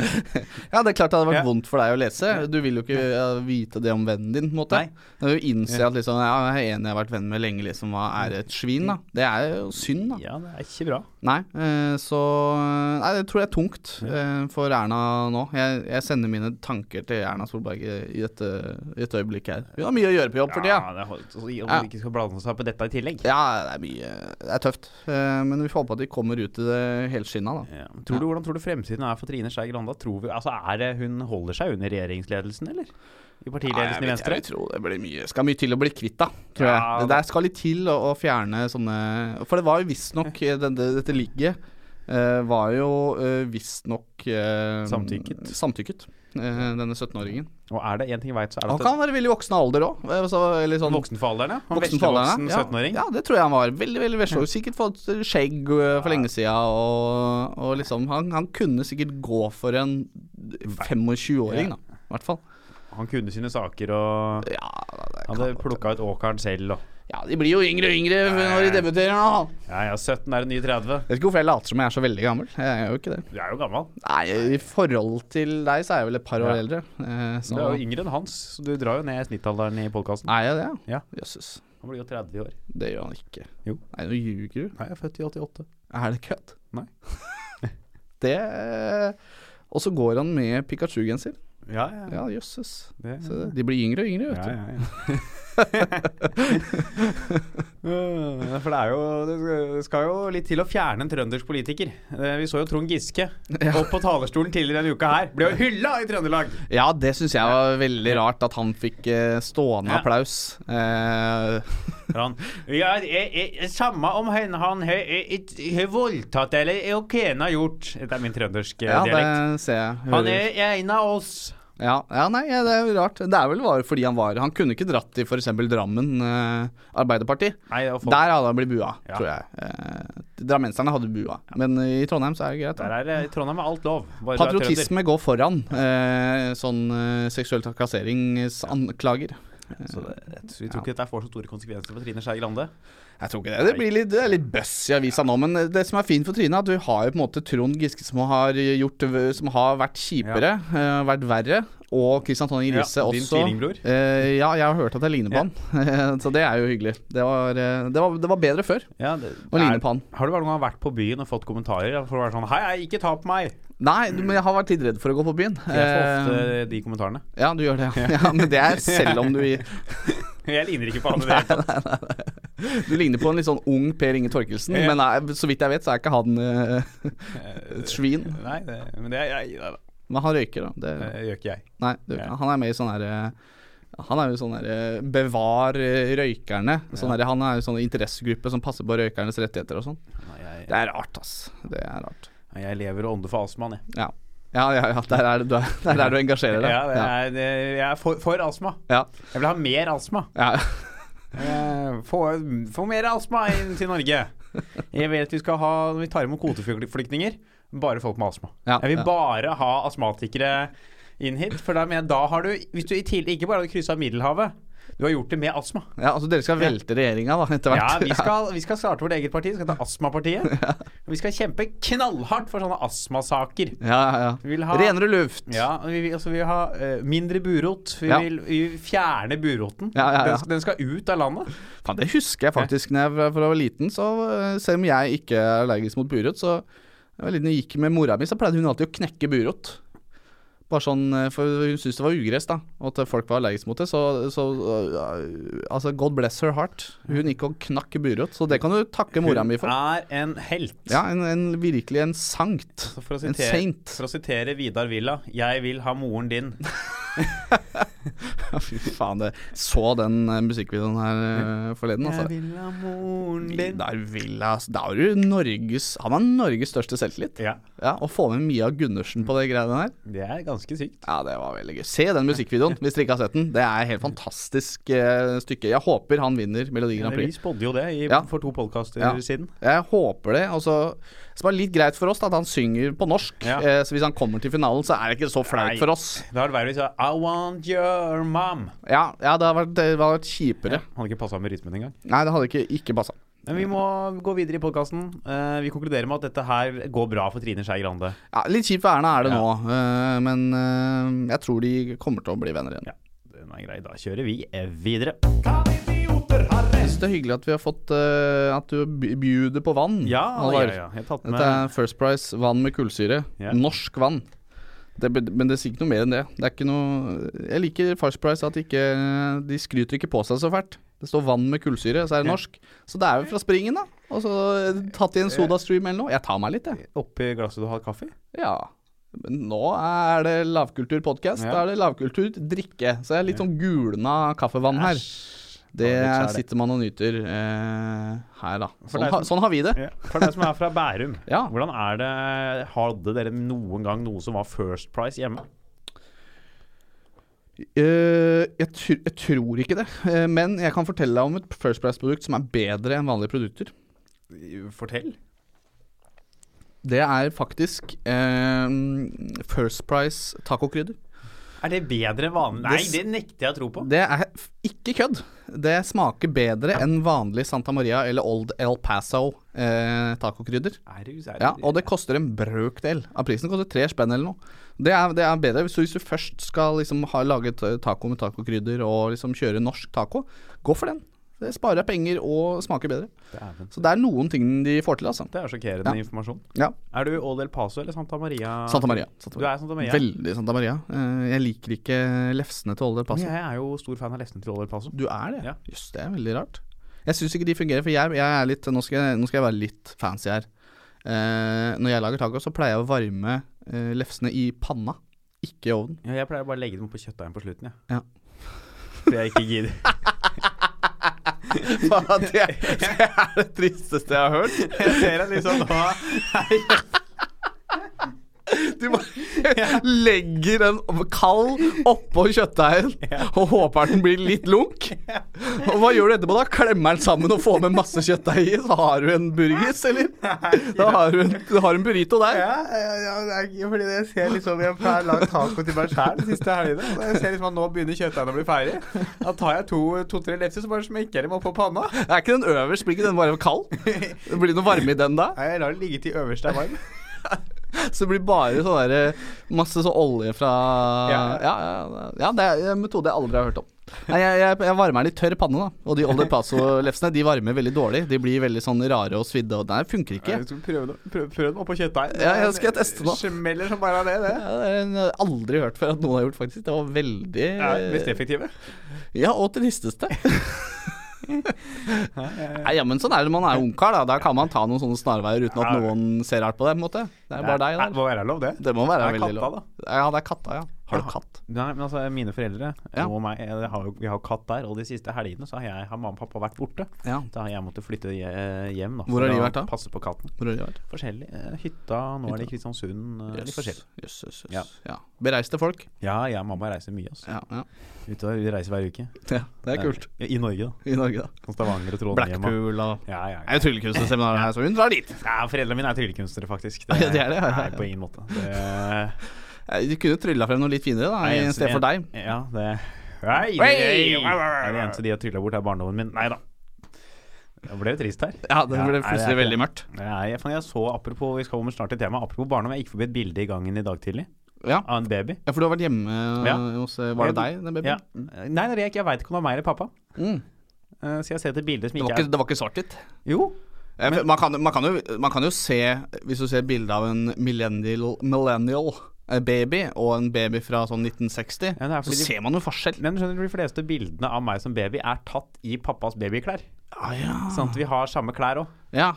Speaker 3: ja, det er klart det hadde vært
Speaker 2: Ja.
Speaker 3: vondt for deg å lese. Du vil jo ikke eh, vite det om vennen din, på en måte.
Speaker 2: Nei.
Speaker 3: Du vil jo innse at liksom, ja, jeg er enig jeg har vært venn med lenge, liksom, hva er et svin, da? Det er jo synd, da.
Speaker 2: Ja, det er ikke bra.
Speaker 3: Nei, eh, så Nei, det tror jeg er tungt eh, for Erna nå. Jeg, jeg sender mine tanker til Erna Solberg i i dette, i dette øyeblikket her. Hun har mye å gjøre på jobb for tida.
Speaker 2: Ja, det, hold- så- om du ikke skal blande seg opp i dette i tillegg.
Speaker 3: Ja, det er mye Det er tøft. Eh, Men vi får håpe at de kommer ut i det helskinna, da.
Speaker 2: Ja. Tror du, hvordan tror du fremtiden er for Trine Skei Grande? Tror vi- Altså, er det hun holder seg under regjeringsledelsen, eller? I partiledelsen i
Speaker 3: Nei, jeg vet-
Speaker 2: Venstre?
Speaker 3: Jeg tror det blir mye. Skal mye til å bli kvitt, da. Tror
Speaker 2: Ja,
Speaker 3: jeg. Det der skal litt til å, å fjerne sånne For det var jo visstnok det- det- Dette ligget eh, var jo uh, visstnok eh,
Speaker 2: Samtykket.
Speaker 3: samtykket. eh, denne 17-åringen.
Speaker 2: Og er det én ting jeg veit, så er
Speaker 3: Han
Speaker 2: det at
Speaker 3: kan være veldig voksen av alder òg.
Speaker 2: han
Speaker 3: Sånn,
Speaker 2: voksen for alderen, ja. Han
Speaker 3: voksen
Speaker 2: vesle
Speaker 3: for alderen,
Speaker 2: voksen
Speaker 3: ja.
Speaker 2: 17-åring.
Speaker 3: Ja, det tror jeg han var. Veldig veldig vesle. Sikkert fått skjegg eh, for lenge sida. Og, og liksom, han, han kunne sikkert gå for en 25-åring,
Speaker 2: Ja.
Speaker 3: da. I hvert fall.
Speaker 2: Han kunne sine saker og
Speaker 3: Ja, det
Speaker 2: Han
Speaker 3: kan
Speaker 2: hadde
Speaker 3: godt
Speaker 2: plukka ut åkeren selv og
Speaker 3: Ja, de blir jo yngre og yngre når de debuterer nå.
Speaker 2: Ja ja, 17 er en ny 30.
Speaker 3: Jeg vet ikke hvorfor jeg later som jeg er så veldig gammel. Jeg er jo ikke det.
Speaker 2: Du er jo gammel.
Speaker 3: Nei, I forhold til deg så er jeg vel et par år
Speaker 2: Ja.
Speaker 3: eldre. Eh,
Speaker 2: Du
Speaker 3: så
Speaker 2: er jo yngre enn hans, så du drar jo ned snittalderen i podkasten.
Speaker 3: Er jeg det?
Speaker 2: Ja.
Speaker 3: Jøsses.
Speaker 2: Han blir jo 30 i år.
Speaker 3: Det gjør han ikke.
Speaker 2: Jo.
Speaker 3: Nei, nå ljuger du.
Speaker 2: Nei, jeg er født i 88.
Speaker 3: Er det kødd?
Speaker 2: Nei.
Speaker 3: det Og så går han med Pikachu-genser.
Speaker 2: Ja, ja. ja.
Speaker 3: Ja, jøsses.
Speaker 2: Det,
Speaker 3: Så De blir yngre og yngre, vet
Speaker 2: ja,
Speaker 3: du.
Speaker 2: ja, ja. Øh, For det er jo Det skal jo litt til å fjerne en trøndersk politiker. Eh, Vi så jo Trond Giske opp på talerstolen tidligere denne uka her. Ble jo hylla i Trøndelag!
Speaker 3: Ja, det syns jeg var veldig rart at han fikk eh, stående
Speaker 2: Ja.
Speaker 3: applaus. Eh,
Speaker 2: Han, ja, jeg, jeg, samme om hen han har voldtatt eller hva han har gjort. Dette er min trøndersk eh,
Speaker 3: ja,
Speaker 2: dialekt.
Speaker 3: det ser jeg.
Speaker 2: Han
Speaker 3: Hører.
Speaker 2: er en av oss.
Speaker 3: Ja, ja nei, ja, det er jo rart. Det er vel bare fordi han var Han kunne ikke dratt til f.eks. Drammen eh, Arbeiderparti.
Speaker 2: Nei, det er folk. Der.
Speaker 3: Der hadde han blitt bua,
Speaker 2: Ja.
Speaker 3: tror jeg. Eh, drammenserne hadde bua, men i Trondheim så er det greit. da.
Speaker 2: er det i Trondheim er alt lov. Bare du er trønder.
Speaker 3: Patriotisme går foran eh, sånn eh, seksuell trakasseringsanklager.
Speaker 2: Så det, jeg tror ikke dette får så store konsekvenser for Trine Skei Grande.
Speaker 3: Jeg tror ikke det. Det, blir litt, det er litt bøss i avisa nå, men det som er fint for Trine, er at vi har jo på en måte Trond Giske som har, gjort, som har vært kjipere, eh, vært verre, og Christian Tonning
Speaker 2: Ja,
Speaker 3: Riise
Speaker 2: din
Speaker 3: også.
Speaker 2: tvillingbror.
Speaker 3: Eh, ja, jeg har hørt at jeg ligner på
Speaker 2: Ja.
Speaker 3: han, så det er jo hyggelig. Det var, eh, det var, det var bedre før
Speaker 2: Ja, det,
Speaker 3: å
Speaker 2: er-
Speaker 3: ligne på han.
Speaker 2: Har du noen gang vært på byen og fått kommentarer? For å være sånn Hei, hei, ikke ta på meg!
Speaker 3: Nei, du, men jeg har vært litt redd for å gå på byen.
Speaker 2: Jeg får
Speaker 3: Eh,
Speaker 2: ofte de kommentarene.
Speaker 3: ja, du gjør det. Ja. ja, Men det er selv om du i
Speaker 2: Jeg ligner ikke på han i det hele tatt.
Speaker 3: Du ligner på en litt sånn ung Per Inge Torkelsen,
Speaker 2: Ja.
Speaker 3: men nei, så vidt jeg vet, så er ikke han eh, et svin.
Speaker 2: Nei, det, men det, jeg, jeg,
Speaker 3: Men han røyker, da. Det,
Speaker 2: det gjør ikke jeg.
Speaker 3: nei, det, gjør ikke han. han er med i sånn herre han er jo sånn der, eh, bevar eh, røykerne. Sånn der, han er jo sånn interessegruppe som passer på røykernes rettigheter og sånn.
Speaker 2: Nei, jeg,
Speaker 3: Det er rart, ass. Det er rart.
Speaker 2: jeg lever og ånder for astmaen, jeg.
Speaker 3: Ja, ja, ja. ja der, er, du- der er du engasjerer deg.
Speaker 2: Ja, det er, det, jeg er for, for astma.
Speaker 3: ja.
Speaker 2: Jeg vil ha mer astma.
Speaker 3: ja.
Speaker 2: Eh, Få, få mer astma inn til Norge. Jeg vil at vi skal ha, når vi tar imot kvoteflyktninger, bare folk med astma.
Speaker 3: Ja,
Speaker 2: jeg vil
Speaker 3: ja.
Speaker 2: bare ha astmatikere inn hit. For da, mener jeg, da har du, hvis du i tillegg ikke bare har kryssa Middelhavet, du har gjort det med astma.
Speaker 3: ja, altså dere skal velte regjeringa da, etter
Speaker 2: Ja,
Speaker 3: hvert.
Speaker 2: vi skal, vi skal starte vårt eget parti. Vi skal ta Astmapartiet. Og vi skal kjempe knallhardt for sånne astmasaker.
Speaker 3: Ja, ja,
Speaker 2: Vi
Speaker 3: ja.
Speaker 2: vil ha
Speaker 3: Renere luft.
Speaker 2: ja, vi, vil- altså, vi vil ha eh, mindre burot. Vi
Speaker 3: Ja.
Speaker 2: vil vi vil fjerne buroten.
Speaker 3: Ja, ja, ja.
Speaker 2: Den, skal- den skal ut av landet.
Speaker 3: Faen, det husker jeg faktisk når jeg var, fra jeg var liten. Så eh, Selv om jeg ikke er allergisk mot burot, så jeg var liten og gikk med mora mi, så pleide hun alltid å knekke burot. Bare sånn, eh, for Hun syntes det var ugress, da, og at folk var allergiske mot det. Så, så eh, altså, God bless her heart. Hun gikk og knakk burot, så det kan du takke mora mi for.
Speaker 2: er en helt.
Speaker 3: Ja, en, en, virkelig en sankt.
Speaker 2: Så for, å
Speaker 3: En
Speaker 2: sitere,
Speaker 3: saint.
Speaker 2: for å sitere Vidar Villa Jeg vil ha moren din.
Speaker 3: Ja, Fy faen, det. Så den eh, musikkvideoen her eh, forleden, altså.
Speaker 2: vil ha moren
Speaker 3: Vidar Villa ass. Da har du Norges Han har Norges største selvtillit.
Speaker 2: Ja,
Speaker 3: Ja, Å få med Mia Gundersen på det greiene der,
Speaker 2: det er ganske sykt.
Speaker 3: ja, det var veldig gøy. Se den musikkvideoen hvis dere ikke har sett den. Det er et helt fantastisk eh, stykke. Jeg håper han vinner Melodi Grand
Speaker 2: vi
Speaker 3: Prix.
Speaker 2: spådde jo det i,
Speaker 3: Ja.
Speaker 2: for to podkaster
Speaker 3: Ja.
Speaker 2: siden.
Speaker 3: Jeg håper det. Og så så var det litt greit for oss da, at han synger på norsk.
Speaker 2: Ja.
Speaker 3: Eh, så hvis han kommer til finalen, så er det ikke så
Speaker 2: Nei.
Speaker 3: flaut for oss.
Speaker 2: Da er det verre hvis jeg sånn, I want your mom.
Speaker 3: Ja, ja det hadde vært, det hadde vært kjipere.
Speaker 2: Han hadde ikke passa med rytmen engang.
Speaker 3: Nei, det hadde ikke, ikke passa.
Speaker 2: Men vi må gå videre i podkasten. vi konkluderer med at dette her går bra for Trine Skei Grande.
Speaker 3: Ja, litt kjipt for Erna er det
Speaker 2: Ja.
Speaker 3: nå, eh, men eh, jeg tror de kommer til å bli venner igjen.
Speaker 2: Ja, den er grei. Da kjører vi eh, videre.
Speaker 3: Jeg synes det er hyggelig at vi har fått eh, at du by- bjuder på vann.
Speaker 2: Ja, ja,
Speaker 3: Halvard.
Speaker 2: ja. Jeg har tatt
Speaker 3: Dette
Speaker 2: med
Speaker 3: er First Price vann med kullsyre.
Speaker 2: Ja.
Speaker 3: Norsk vann. Det, be- men det sier ikke noe mer enn det. det er ikke noe, jeg liker First Price at ikke, de skryter ikke på seg så fælt. Det står 'vann med kullsyre', så er det
Speaker 2: Ja. Eh.
Speaker 3: norsk. Så det er jo fra springen, da. Og så eh, tatt i en sodastream eller noe. Jeg tar meg litt, jeg.
Speaker 2: oppi glasset du har kaffe i.
Speaker 3: Ja. Men nå er det lavkulturpodkast.
Speaker 2: Ja.
Speaker 3: Da er det lavkulturdrikke. Så jeg er litt sånn gulna kaffevann her. Det
Speaker 2: Ja, det er det.
Speaker 3: sitter man og nyter eh, her, da.
Speaker 2: For
Speaker 3: Sånn,
Speaker 2: deg
Speaker 3: ha,
Speaker 2: som-
Speaker 3: sånn har vi det.
Speaker 2: Ja. For deg som er fra Bærum,
Speaker 3: Ja.
Speaker 2: hvordan er det Hadde dere noen gang noe som var First Price hjemme?
Speaker 3: Eh, jeg, tr jeg tror ikke det, Eh, men jeg kan fortelle deg om et First Price-produkt som er bedre enn vanlige produkter.
Speaker 2: Fortell.
Speaker 3: Det er faktisk eh, First Price tacokrydder.
Speaker 2: Er det bedre enn vanlig? Nei,
Speaker 3: Det s-
Speaker 2: det nekter jeg å tro på.
Speaker 3: Det er f- ikke kødd. Det smaker bedre enn vanlig Santa Maria eller Old El Paso eh, tacokrydder.
Speaker 2: Er det, er det,
Speaker 3: Ja, og det koster en brøkdel av prisen. Det koster tre spenn eller noe. Det er, det er bedre. Så hvis du først skal liksom ha, lage t- taco med tacokrydder og liksom kjøre norsk taco, gå for den. Det sparer penger og smaker bedre.
Speaker 2: Dæven.
Speaker 3: Så det er noen ting de får til, altså.
Speaker 2: Det er sjokkerende informasjon.
Speaker 3: Ja.
Speaker 2: Er du Old El Paso eller Santa Maria?
Speaker 3: Santa Maria. Santa
Speaker 2: Du
Speaker 3: Maria.
Speaker 2: er Santa Maria?
Speaker 3: Veldig Santa Maria. Eh, Jeg liker ikke lefsene til Older
Speaker 2: Men
Speaker 3: Passo.
Speaker 2: jeg er jo stor fan av lefsene til Old El Paso.
Speaker 3: Du er det?
Speaker 2: Ja.
Speaker 3: Jøss, det er veldig rart. Jeg syns ikke de fungerer, for jeg, jeg er litt nå skal jeg, nå skal jeg være litt fancy her. Eh, når jeg lager taco, så pleier jeg å varme eh, lefsene i panna, ikke i ovnen.
Speaker 2: Ja, jeg pleier bare å legge dem på kjøttdeigen på slutten, jeg.
Speaker 3: Ja.
Speaker 2: For jeg ikke gidder.
Speaker 3: Faen, det, er, det er det tristeste jeg har hørt.
Speaker 2: Jeg ser at liksom nå
Speaker 3: Du bare legger en kald oppå kjøttdeigen og håper den blir litt lunk. Og hva gjør du etterpå, da? Klemmer den sammen og får med masse kjøttdeig i? Så har du en burgers, eller? Da har du en, da har du en burrito der.
Speaker 2: ja, ja, ja, det er ikke fordi jeg ser liksom Jeg pleier å lage taco til meg sjæl de siste helgene. Og jeg ser liksom at nå begynner kjøttdeigen å bli ferdig. Da tar jeg to-tre to, tre lefser, så bare smekker jeg dem opp på panna.
Speaker 3: Er ikke den øverst? Blir ikke den bare kald? Det blir noe varme i den da?
Speaker 2: Nei, jeg lar det ligge til øverst er varm.
Speaker 3: Så det blir bare sånn derre Masse sånn olje fra ja.
Speaker 2: Ja.
Speaker 3: Ja, ja, det er en metode jeg aldri har hørt om. Nei, jeg, jeg, jeg varmer den i tørr panne, da. Og de Older Paso-lefsene de varmer veldig dårlig. De blir veldig sånn rare og svidde, og nei, det funker ikke.
Speaker 2: Jeg skal prøve dem- Prøv prøv dem oppå kjøttdeigen.
Speaker 3: Ja, jeg skal teste nå.
Speaker 2: Smeller som bare det, det.
Speaker 3: Ja, det er en- jeg har aldri hørt før at noen har gjort, faktisk. Det var veldig
Speaker 2: Ja, mest effektive.
Speaker 3: Ja, og tristeste. Nei, ja, men sånn er det når man er ungkar. Da Da kan man ta noen sånne snarveier uten at
Speaker 2: Ja.
Speaker 3: noen ser rart på deg. på en måte Det er bare deg,
Speaker 2: Nei,
Speaker 3: da.
Speaker 2: det Må være lov, det.
Speaker 3: Det må være
Speaker 2: Det er
Speaker 3: veldig
Speaker 2: katta,
Speaker 3: lov. Ja, det er katta, ja. Har du katt?
Speaker 2: Nei, men altså Mine foreldre
Speaker 3: Ja.
Speaker 2: og meg, jeg har jo, vi har jo katt der. Og de siste helgene så har, jeg, har mamma og pappa vært borte.
Speaker 3: Ja.
Speaker 2: Da har jeg måttet flytte hje- hjem. Da,
Speaker 3: Hvor har
Speaker 2: for
Speaker 3: de
Speaker 2: å
Speaker 3: vært da?
Speaker 2: Passe på katten.
Speaker 3: Hvor har de vært?
Speaker 2: Forskjellig. eh, Hytta, nå er det i Kristiansund. eh, Litt forskjellig.
Speaker 3: Jøss, jøss,
Speaker 2: Ja.
Speaker 3: jøss. Ja. Bereiste folk.
Speaker 2: Ja, jeg og mamma reiser mye. Altså.
Speaker 3: Ja, ja.
Speaker 2: Ute og Vi reiser hver uke.
Speaker 3: ja. Det er kult.
Speaker 2: Eh, I Norge, da.
Speaker 3: I Norge, da.
Speaker 2: Sånn Stavanger og Trondheim. og-
Speaker 3: Blackpool og
Speaker 2: Ja, ja, ja.
Speaker 3: Det er jo tryllekunstnerseminar her, så hun drar dit.
Speaker 2: ja, foreldrene mine er tryllekunstnere, faktisk.
Speaker 3: Ja, de er det, ja, ja,
Speaker 2: Nei,
Speaker 3: ja.
Speaker 2: på ingen måte. Det,
Speaker 3: Eh, De kunne trylla frem noe litt finere, da, i stedet for deg.
Speaker 2: Ja, det Nei,
Speaker 3: Oi!
Speaker 2: det er det eneste de har trylla bort, er barndommen min. Nei da. Det ble jo trist her.
Speaker 3: Ja, det
Speaker 2: Ja, nei,
Speaker 3: ble
Speaker 2: det er
Speaker 3: plutselig
Speaker 2: ikke det.
Speaker 3: veldig mørkt.
Speaker 2: Nei, jeg, faen, jeg så, apropos, vi skal komme snart til tema Apropos barndom, jeg gikk forbi et bilde i gangen i dag tidlig
Speaker 3: Ja.
Speaker 2: av en baby.
Speaker 3: ja, for du har vært hjemme
Speaker 2: Ja.
Speaker 3: hos eh, Var det
Speaker 2: Ja.
Speaker 3: deg, den
Speaker 2: Ja.
Speaker 3: babyen?
Speaker 2: Nei, nei, jeg, jeg veit ikke om det er meg eller pappa.
Speaker 3: Mm.
Speaker 2: Eh, Så jeg ser etter bilder som
Speaker 3: Det, var
Speaker 2: ikke
Speaker 3: ikke, det var ikke svart-hvitt?
Speaker 2: er Jo,
Speaker 3: Eh, for Man, kan- man, kan jo- man kan jo se, hvis du ser bilde av en millennial, millennial eh, baby og en baby fra sånn 1960,
Speaker 2: Ja, det er
Speaker 3: så
Speaker 2: fordi de-
Speaker 3: ser man jo forskjell.
Speaker 2: men skjønner du, de fleste bildene av meg som baby er tatt i pappas babyklær.
Speaker 3: Ah, ja.
Speaker 2: Sånn at vi har samme klær òg.
Speaker 3: Ja.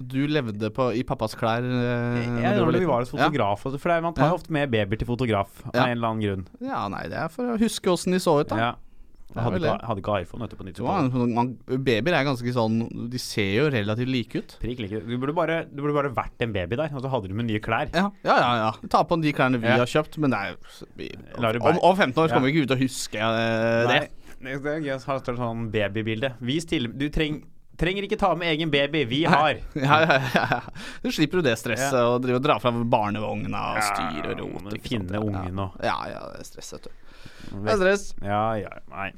Speaker 3: Du levde på, i pappas klær eh, når du var
Speaker 2: Vi
Speaker 3: liten.
Speaker 2: var hos fotograf, og så- for det er- man tar jo ofte med babyer til fotograf
Speaker 3: Ja.
Speaker 2: av en eller annen grunn.
Speaker 3: Ja. ja, nei, det er for å huske åssen de så ut, da.
Speaker 2: Ja. Jeg hadde,
Speaker 3: vel det.
Speaker 2: ikke, hadde ikke iPhone vet du, på
Speaker 3: Det var
Speaker 2: 90-tallet.
Speaker 3: en sånn- man, babyer er ganske sånn De ser jo relativt like ut.
Speaker 2: Prikk like. Du burde, bare, du burde bare vært en baby der, og så hadde du med nye klær.
Speaker 3: Ja, ja, ja. ja. Ta på de klærne vi
Speaker 2: Ja.
Speaker 3: har kjøpt, men det er jo vi,
Speaker 2: Lar det
Speaker 3: om,
Speaker 2: bære.
Speaker 3: om 15 år så
Speaker 2: Ja.
Speaker 3: kommer vi ikke ut og huske eh, det.
Speaker 2: Nei, det det er gøy å ha et sånn babybilde. Vis til Du treng, trenger ikke ta med egen baby, vi har.
Speaker 3: Ja, ja, ja. Du slipper jo det stresset
Speaker 2: Ja.
Speaker 3: å drive og dra fra barnevogna og styre og
Speaker 2: Ja, må
Speaker 3: rote.
Speaker 2: du
Speaker 3: ikke sant?
Speaker 2: Finne ungen og
Speaker 3: Ja, ja, det er stress, vet du. Det er stress.
Speaker 2: Ja, ja, nei.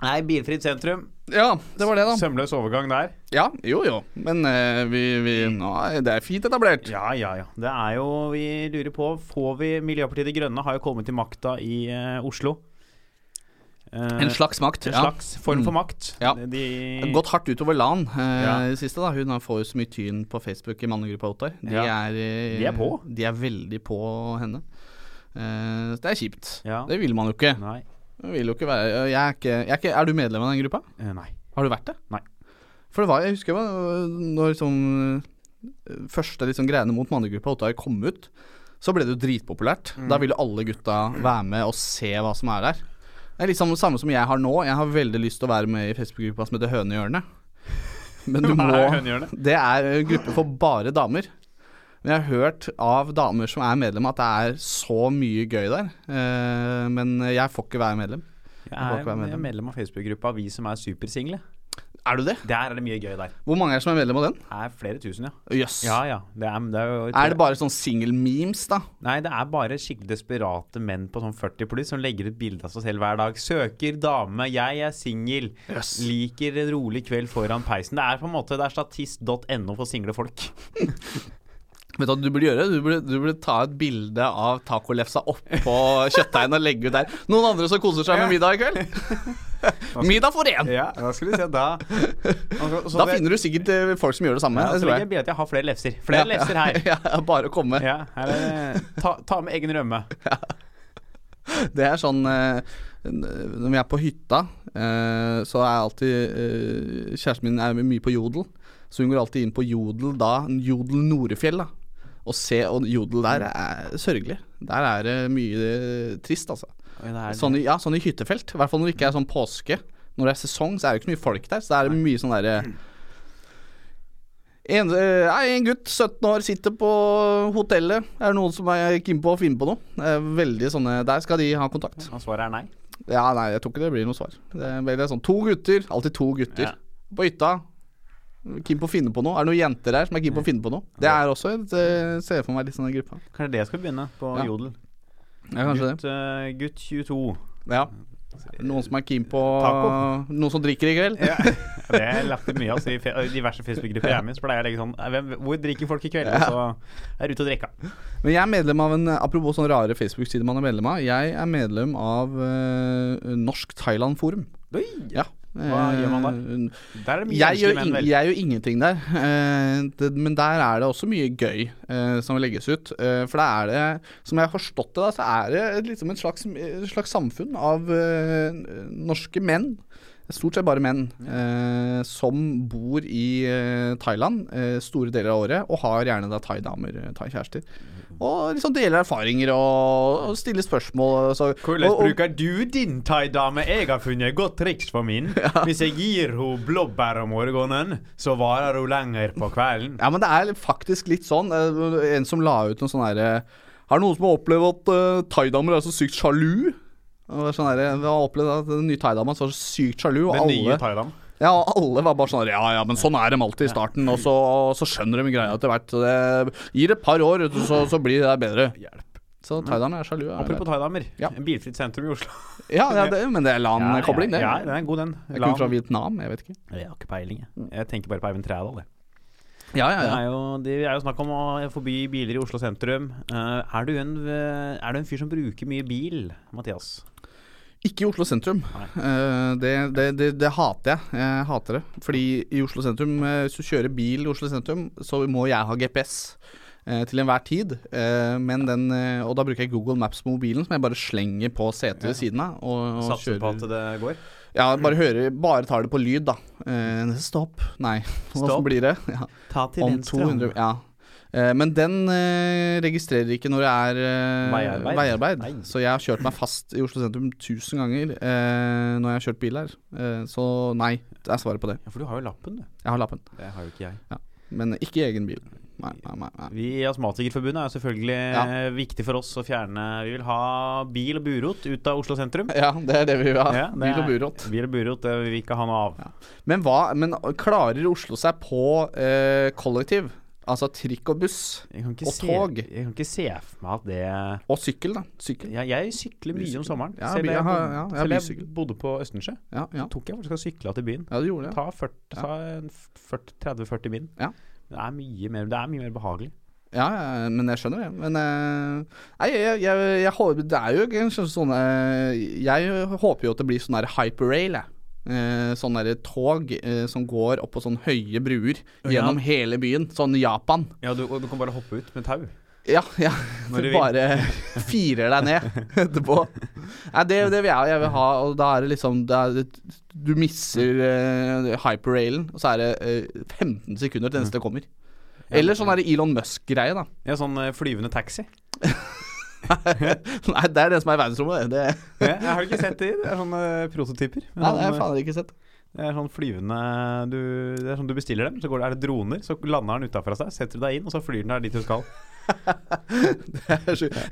Speaker 2: Nei, bilfritt sentrum.
Speaker 3: Ja, det var det, da.
Speaker 2: Sømløs overgang der.
Speaker 3: Ja, jo jo. Men eh, vi, vi nå, er- Det er fint etablert.
Speaker 2: Ja, ja, ja. Det er jo Vi lurer på Får vi Miljøpartiet De Grønne har jo kommet til makta i eh, Oslo. Eh,
Speaker 3: En slags makt.
Speaker 2: en
Speaker 3: ja. Mm.
Speaker 2: slags form for makt.
Speaker 3: Ja.
Speaker 2: De
Speaker 3: Gått hardt utover LAN eh,
Speaker 2: Ja.
Speaker 3: i det siste. da Hun har- får jo så mye tyn på Facebook i mannegruppa Ottar. De,
Speaker 2: Ja.
Speaker 3: er, eh,
Speaker 2: De er på.
Speaker 3: De er veldig på henne. Eh, så det er kjipt.
Speaker 2: Ja.
Speaker 3: Det vil man jo ikke.
Speaker 2: Nei.
Speaker 3: Det Vil jo ikke være jeg er, ikke, jeg er, ikke, er du medlem av den gruppa?
Speaker 2: Eh, nei.
Speaker 3: Har du vært det?
Speaker 2: Nei.
Speaker 3: For det var, jeg husker det var, når liksom, eh, første liksom, greiene mot mannegruppa Ottar kom ut, så ble det jo dritpopulært. Da ville alle gutta være med og se hva som er der. Det er liksom det samme som jeg har nå. Jeg har veldig lyst til å være med i Facebook-gruppa som heter Hønehjørnet. Men du
Speaker 2: Hva
Speaker 3: må
Speaker 2: er Hønehjørnet?
Speaker 3: Det er en gruppe for bare damer. Men jeg har hørt av damer som er medlem, at det er så mye gøy der. Eh, men jeg får ikke være medlem.
Speaker 2: Jeg
Speaker 3: må ikke
Speaker 2: er
Speaker 3: være medlem.
Speaker 2: medlem, av Facebook-gruppa Vi som er supersingle.
Speaker 3: Er du det?
Speaker 2: Der er det mye gøy der.
Speaker 3: Hvor mange er det som er medlem av den?
Speaker 2: Det er flere tusen, ja.
Speaker 3: Jøss.
Speaker 2: Ja ja. Det er, det er, jo-
Speaker 3: Er det bare sånn single-memes, da?
Speaker 2: Nei, det er bare skikkelig desperate menn på sånn 40 pluss som legger ut bilde av seg selv hver dag. Søker dame, jeg er singel,
Speaker 3: Yes.
Speaker 2: liker en rolig kveld foran peisen. Det er på en måte det er statist.no for single folk.
Speaker 3: Vet du hva du burde gjøre? Du burde, du burde ta et bilde av tacolefsa oppå kjøttdeigen og legge ut der. Noen andre som koser seg med middag i kveld? middag for én!
Speaker 2: Ja, da skal du se da. Altså,
Speaker 3: Da finner du sikkert eh, folk som gjør det samme.
Speaker 2: ja,
Speaker 3: det
Speaker 2: så legger altså,
Speaker 3: tror jeg.
Speaker 2: jeg bilde at jeg har flere lefser. Flere
Speaker 3: Ja,
Speaker 2: lefser her.
Speaker 3: Ja, ja, bare å komme.
Speaker 2: Ja, her er det. Ta, ta med egen rømme.
Speaker 3: Det er sånn eh, Når vi er på hytta, eh, så er alltid eh, Kjæresten min er mye på Jodel, så hun går alltid inn på Jodel da, Jodel Norefjell, da. Og se, og Jodel der er sørgelig. Der er det mye eh, trist, altså. Sånn, i- ja, sånn i hyttefelt. I hvert fall når det ikke er sånn påske. Når det er sesong, så er det jo ikke så mye folk der. Så det er mye sånn derre en, eh, nei, en gutt, 17 år, sitter på hotellet. Er det noen som er keen på å finne på noe? Eh, Veldig sånne Der skal de ha kontakt.
Speaker 2: Og svaret er nei.
Speaker 3: Ja, nei, jeg tror ikke det blir noe svar. Det er veldig sånn To gutter. Alltid to gutter.
Speaker 2: Ja.
Speaker 3: På hytta. Keen på å finne på noe. Er det noen jenter der som er keen på å finne på noe? Det er også et eh, Ser jeg for meg litt sånn i gruppa.
Speaker 2: Kanskje det jeg skal begynne på
Speaker 3: Ja,
Speaker 2: Jodel.
Speaker 3: Ja, kanskje det.
Speaker 2: gutt, eh, gutt 22.
Speaker 3: Ja. Noen som er keen på
Speaker 2: Taco.
Speaker 3: Noen som drikker i kveld?
Speaker 2: Ja. Det har jeg lagt ut mye av altså, i fe- i diverse Facebook-grupper jeg er med i. Så pleier jeg å legge sånn hvem, Hvor drikker folk i kveld? Og så er jeg ute og drikker.
Speaker 3: Men jeg er medlem av en Apropos sånne rare Facebook-sider man er medlem av. Jeg er medlem av eh, Norsk Thailand Forum.
Speaker 2: Oi,
Speaker 3: Ja. Eh,
Speaker 2: Hva gjør man
Speaker 3: der?
Speaker 2: Der er det mye
Speaker 3: Jeg
Speaker 2: enslige
Speaker 3: gjør, ing-
Speaker 2: menn, vel.
Speaker 3: jeg gjør ingenting der, eh, det, men der er det også mye gøy eh, som legges ut. eh, for da er det, som jeg har forstått det, da, så er det et- liksom et slags, et slags samfunn av eh, norske menn, stort sett bare menn, eh, som bor i eh, Thailand eh, store deler av året, og har gjerne da thaidamer, eh, thaikjærester.
Speaker 2: Mm.
Speaker 3: Og liksom deler erfaringer og, og stiller spørsmål. Så,
Speaker 2: Hvordan
Speaker 3: og, og,
Speaker 2: bruker du din thaidame? Jeg har funnet et godt triks for min. Hvis jeg gir henne blåbær om morgenen, så varer hun lenger på kvelden.
Speaker 3: Ja, men det er faktisk litt sånn. eh, En som la ut en sånn herre Er det noen som har opplevd at uh, thaidamer er så sykt sjalu? Og det er sånn herre, Vi har opplevd at den nye thaidama var så sykt sjalu, og
Speaker 2: Den nye
Speaker 3: alle,
Speaker 2: thaidam.
Speaker 3: ja, og alle var bare sånn herre, Ja, ja, men sånn er de alltid i starten, og så, og så skjønner de greia etter hvert. så Det gir et par år, vet du, så, så blir det der bedre.
Speaker 2: Hjelp.
Speaker 3: Så thaiderne er sjalu. Er
Speaker 2: Mm. Apropos
Speaker 3: det.
Speaker 2: thaidamer.
Speaker 3: Ja.
Speaker 2: Bilfritt sentrum i Oslo.
Speaker 3: ja, ja, det, men det er LAN-kobling, det.
Speaker 2: Ja, ja, den er god, den.
Speaker 3: Jeg
Speaker 2: La
Speaker 3: kommer fra
Speaker 2: han-
Speaker 3: Vietnam, jeg vet ikke.
Speaker 2: Jeg har ikke peiling, jeg. Jeg tenker bare på Eivind Trædal, jeg.
Speaker 3: Ja, ja,
Speaker 2: Det
Speaker 3: ja.
Speaker 2: er jo, det er jo snakk om å forby biler i Oslo sentrum. Eh, er, du en, eh, er du en fyr som bruker mye bil, Mathias?
Speaker 3: Ikke i Oslo sentrum. Eh, det, det, det, det hater jeg. Jeg hater det. Fordi i Oslo sentrum, eh, hvis du kjører bil i Oslo sentrum, så må jeg ha GPS. eh, Til enhver tid. eh, Men den, eh, og da bruker jeg Google Maps på mobilen, som jeg bare slenger på setet ved siden av. Og, og
Speaker 2: Satser på at
Speaker 3: kjører.
Speaker 2: det går?
Speaker 3: Ja, bare, hører, bare tar det på lyd, da. Eh, Stopp. Nei,
Speaker 2: Stopp.
Speaker 3: hvordan blir det? Ja.
Speaker 2: Ta til
Speaker 3: Om
Speaker 2: venstre.
Speaker 3: 200 Ja. Eh, Men den eh, registrerer ikke når det er eh,
Speaker 2: Veiarbeid.
Speaker 3: veiarbeid.
Speaker 2: Nei.
Speaker 3: Så jeg har kjørt meg fast i Oslo sentrum tusen ganger eh, når jeg har kjørt bil her. Eh, så nei, det er svaret på det.
Speaker 2: Ja, for du har jo lappen, du.
Speaker 3: Jeg har lappen.
Speaker 2: Det har jo ikke jeg.
Speaker 3: Men ikke i egen bil. Nei, nei, nei. nei.
Speaker 2: Vi i Astmatikerforbundet er jo selvfølgelig
Speaker 3: Ja.
Speaker 2: eh, viktig for oss å fjerne Vi vil ha bil og burot ut av Oslo sentrum.
Speaker 3: Ja, det er det vi vil ha.
Speaker 2: Ja, det
Speaker 3: bil og
Speaker 2: er-
Speaker 3: burot.
Speaker 2: Bil og burot det vil vi ikke ha noe av.
Speaker 3: Men, hva, men eh, klarer Oslo seg på eh, kollektiv? Altså trikk og buss.
Speaker 2: Jeg kan ikke
Speaker 3: Og
Speaker 2: se,
Speaker 3: tog.
Speaker 2: Jeg kan ikke se for meg at det
Speaker 3: Og sykkel, da. Sykkel.
Speaker 2: Jeg, jeg sykler mye om
Speaker 3: Bysykkel.
Speaker 2: sommeren.
Speaker 3: Ja,
Speaker 2: selv
Speaker 3: by-
Speaker 2: jeg,
Speaker 3: jeg har-
Speaker 2: bodde-
Speaker 3: ja, jeg har
Speaker 2: selv jeg
Speaker 3: bysykkel.
Speaker 2: bodde på Østensjø,
Speaker 3: Ja, ja.
Speaker 2: tok jeg faktisk og sykla til byen.
Speaker 3: ja, du gjorde det.
Speaker 2: Ta, 40 ta en f- 40 30-40 min.
Speaker 3: Ja.
Speaker 2: Det er mye mer, det er mye mer behagelig.
Speaker 3: Ja, ja, men jeg skjønner det. Men eh, nei, jeg, jeg, jeg håper Det er jo ikke en sånn- sånn eh, Jeg håper jo at det blir sånn der hyperrail, jeg. Eh, sånn derre tog eh, som går opp på sånne høye bruer
Speaker 2: ja.
Speaker 3: gjennom hele byen. Sånn Japan.
Speaker 2: Ja, du, og du kan bare hoppe ut med tau.
Speaker 3: Ja, ja.
Speaker 2: Når du vil.
Speaker 3: bare firer deg ned etterpå. Nei, det, det vil jeg, jeg vil ha, og da er det liksom det er, Du misser eh, hyperrailen, og så er det eh, 15 sekunder til neste kommer. Eller sånn er det Elon Musk-greie, da.
Speaker 2: Ja, sånn eh, flyvende taxi.
Speaker 3: Nei, det er det som er i verdensrommet. Det,
Speaker 2: Ja, jeg har ikke sett det. Det er sånne eh, prototyper. Men
Speaker 3: nei, det har
Speaker 2: han,
Speaker 3: jeg
Speaker 2: eh,
Speaker 3: faen ikke sett.
Speaker 2: Det er sånn flyvende du, Det er sånn du bestiller dem, så går det, er det droner. Så lander den utafra seg, setter du deg inn, og så flyr den der dit du skal.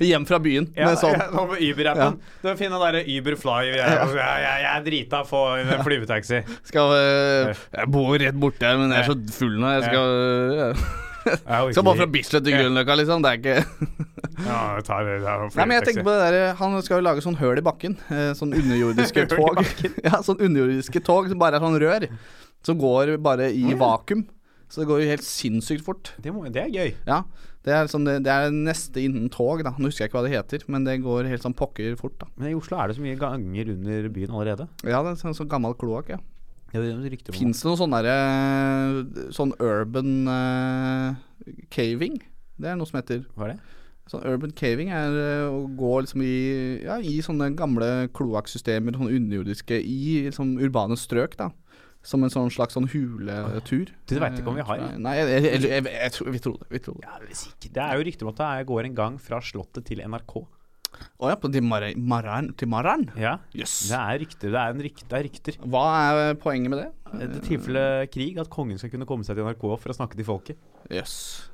Speaker 3: Hjem fra byen
Speaker 2: Ja,
Speaker 3: med sånn
Speaker 2: ja, nå med Uber-appen. Du må finne den der Uberfly. Jeg, jeg, jeg, jeg er drita, få en flyvetaxi.
Speaker 3: Skal øh, Jeg bor rett borte, men jeg er så full nå. Jeg skal, øh,
Speaker 2: Jeg
Speaker 3: skal bare fra Bislett til Grünerløkka, liksom. Det er ikke
Speaker 2: Ja, jeg tar, jeg tar
Speaker 3: Nei, men jeg tenker på det der Han skal jo lage sånn høl i bakken. eh, Sånn underjordiske
Speaker 2: Høl i
Speaker 3: tog. ja, sånn underjordiske tog som bare er sånn rør. Som går bare i vakuum. Så det går jo helt sinnssykt fort.
Speaker 2: det, må, det er gøy.
Speaker 3: Ja, det er, sånn, det, det er neste innen tog, da. Nå husker jeg ikke hva det heter, men det går helt sånn pokker fort, da.
Speaker 2: Men i Oslo er det så mye ganger under byen allerede.
Speaker 3: Ja, det er sånn, sånn gammel kloakk, ja.
Speaker 2: Ja, det er rykter om
Speaker 3: Fins det noe sånn derre Sånn urban eh, caving? Det er noe som heter
Speaker 2: Hva er det?
Speaker 3: Sånn urban caving er eh, å gå liksom i, ja, i sånne gamle kloakksystemer, sånne underjordiske, i liksom urbane strøk, da. Som en sånn slags sånn huletur. Eh,
Speaker 2: Du vet ikke om vi har, ja.
Speaker 3: Nei, jeg, jeg, jeg, jeg, jeg, tror- vi tror det. Vi tror det.
Speaker 2: Ja, hvis ikke- Det er jo rykter om at det er- går en gang fra Slottet til NRK.
Speaker 3: Å ja, på til Maran, Maran, til Maran?
Speaker 2: Ja,
Speaker 3: Jøss.
Speaker 2: Det er rykter. Det er, en rykt, det er rykter.
Speaker 3: Hva er poenget med det?
Speaker 2: I det tilfellet krig, at kongen skal kunne komme seg til NRK for å snakke til folket.
Speaker 3: Jøss.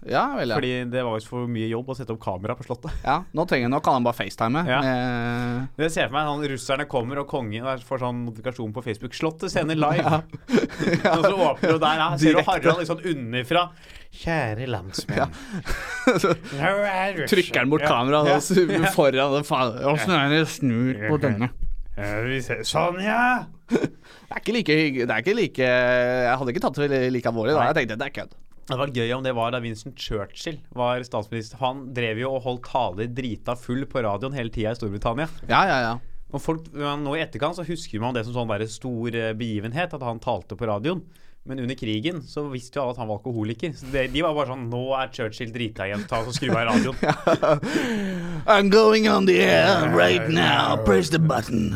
Speaker 3: Ja vel, ja.
Speaker 2: Fordi det var jo så for mye jobb å sette opp kamera på Slottet.
Speaker 3: ja. Nå trenger nå kan han bare facetime.
Speaker 2: Ja.
Speaker 3: Eh,
Speaker 2: Det ser jeg for meg sånn, Russerne kommer, og kongen er- får sånn notifikasjon på Facebook. 'Slottet sender live'. Og så åpner du der. Ja, ser du
Speaker 3: Direkte.
Speaker 2: Harald litt sånn underfra. Kjære landsmenn.
Speaker 3: Eh,
Speaker 2: Nå er Russland-
Speaker 3: trykker han bort kameraet og så foran og faen Åssen er det snur på denne?
Speaker 2: Ja, vi ser. Sånn, ja!
Speaker 3: Det er ikke like hygg- Det er ikke like Jeg hadde ikke tatt det veldig like alvorlig da. Jeg tenkte det er kødd.
Speaker 2: Det hadde vært gøy om det var da Vincent Churchill var statsminister. Han drev jo og holdt taler drita full på radioen hele tida i Storbritannia.
Speaker 3: Ja, ja, ja.
Speaker 2: Og folk, ja, nå i etterkant så husker man det som sånn der stor eh, begivenhet, at han talte på radioen. Men under krigen så visste jo alle at han var alkoholiker. Så det, de var bare sånn Nå er Churchill drita igjen, ta og skru av radioen.
Speaker 3: I'm going on the air right now. Press the button.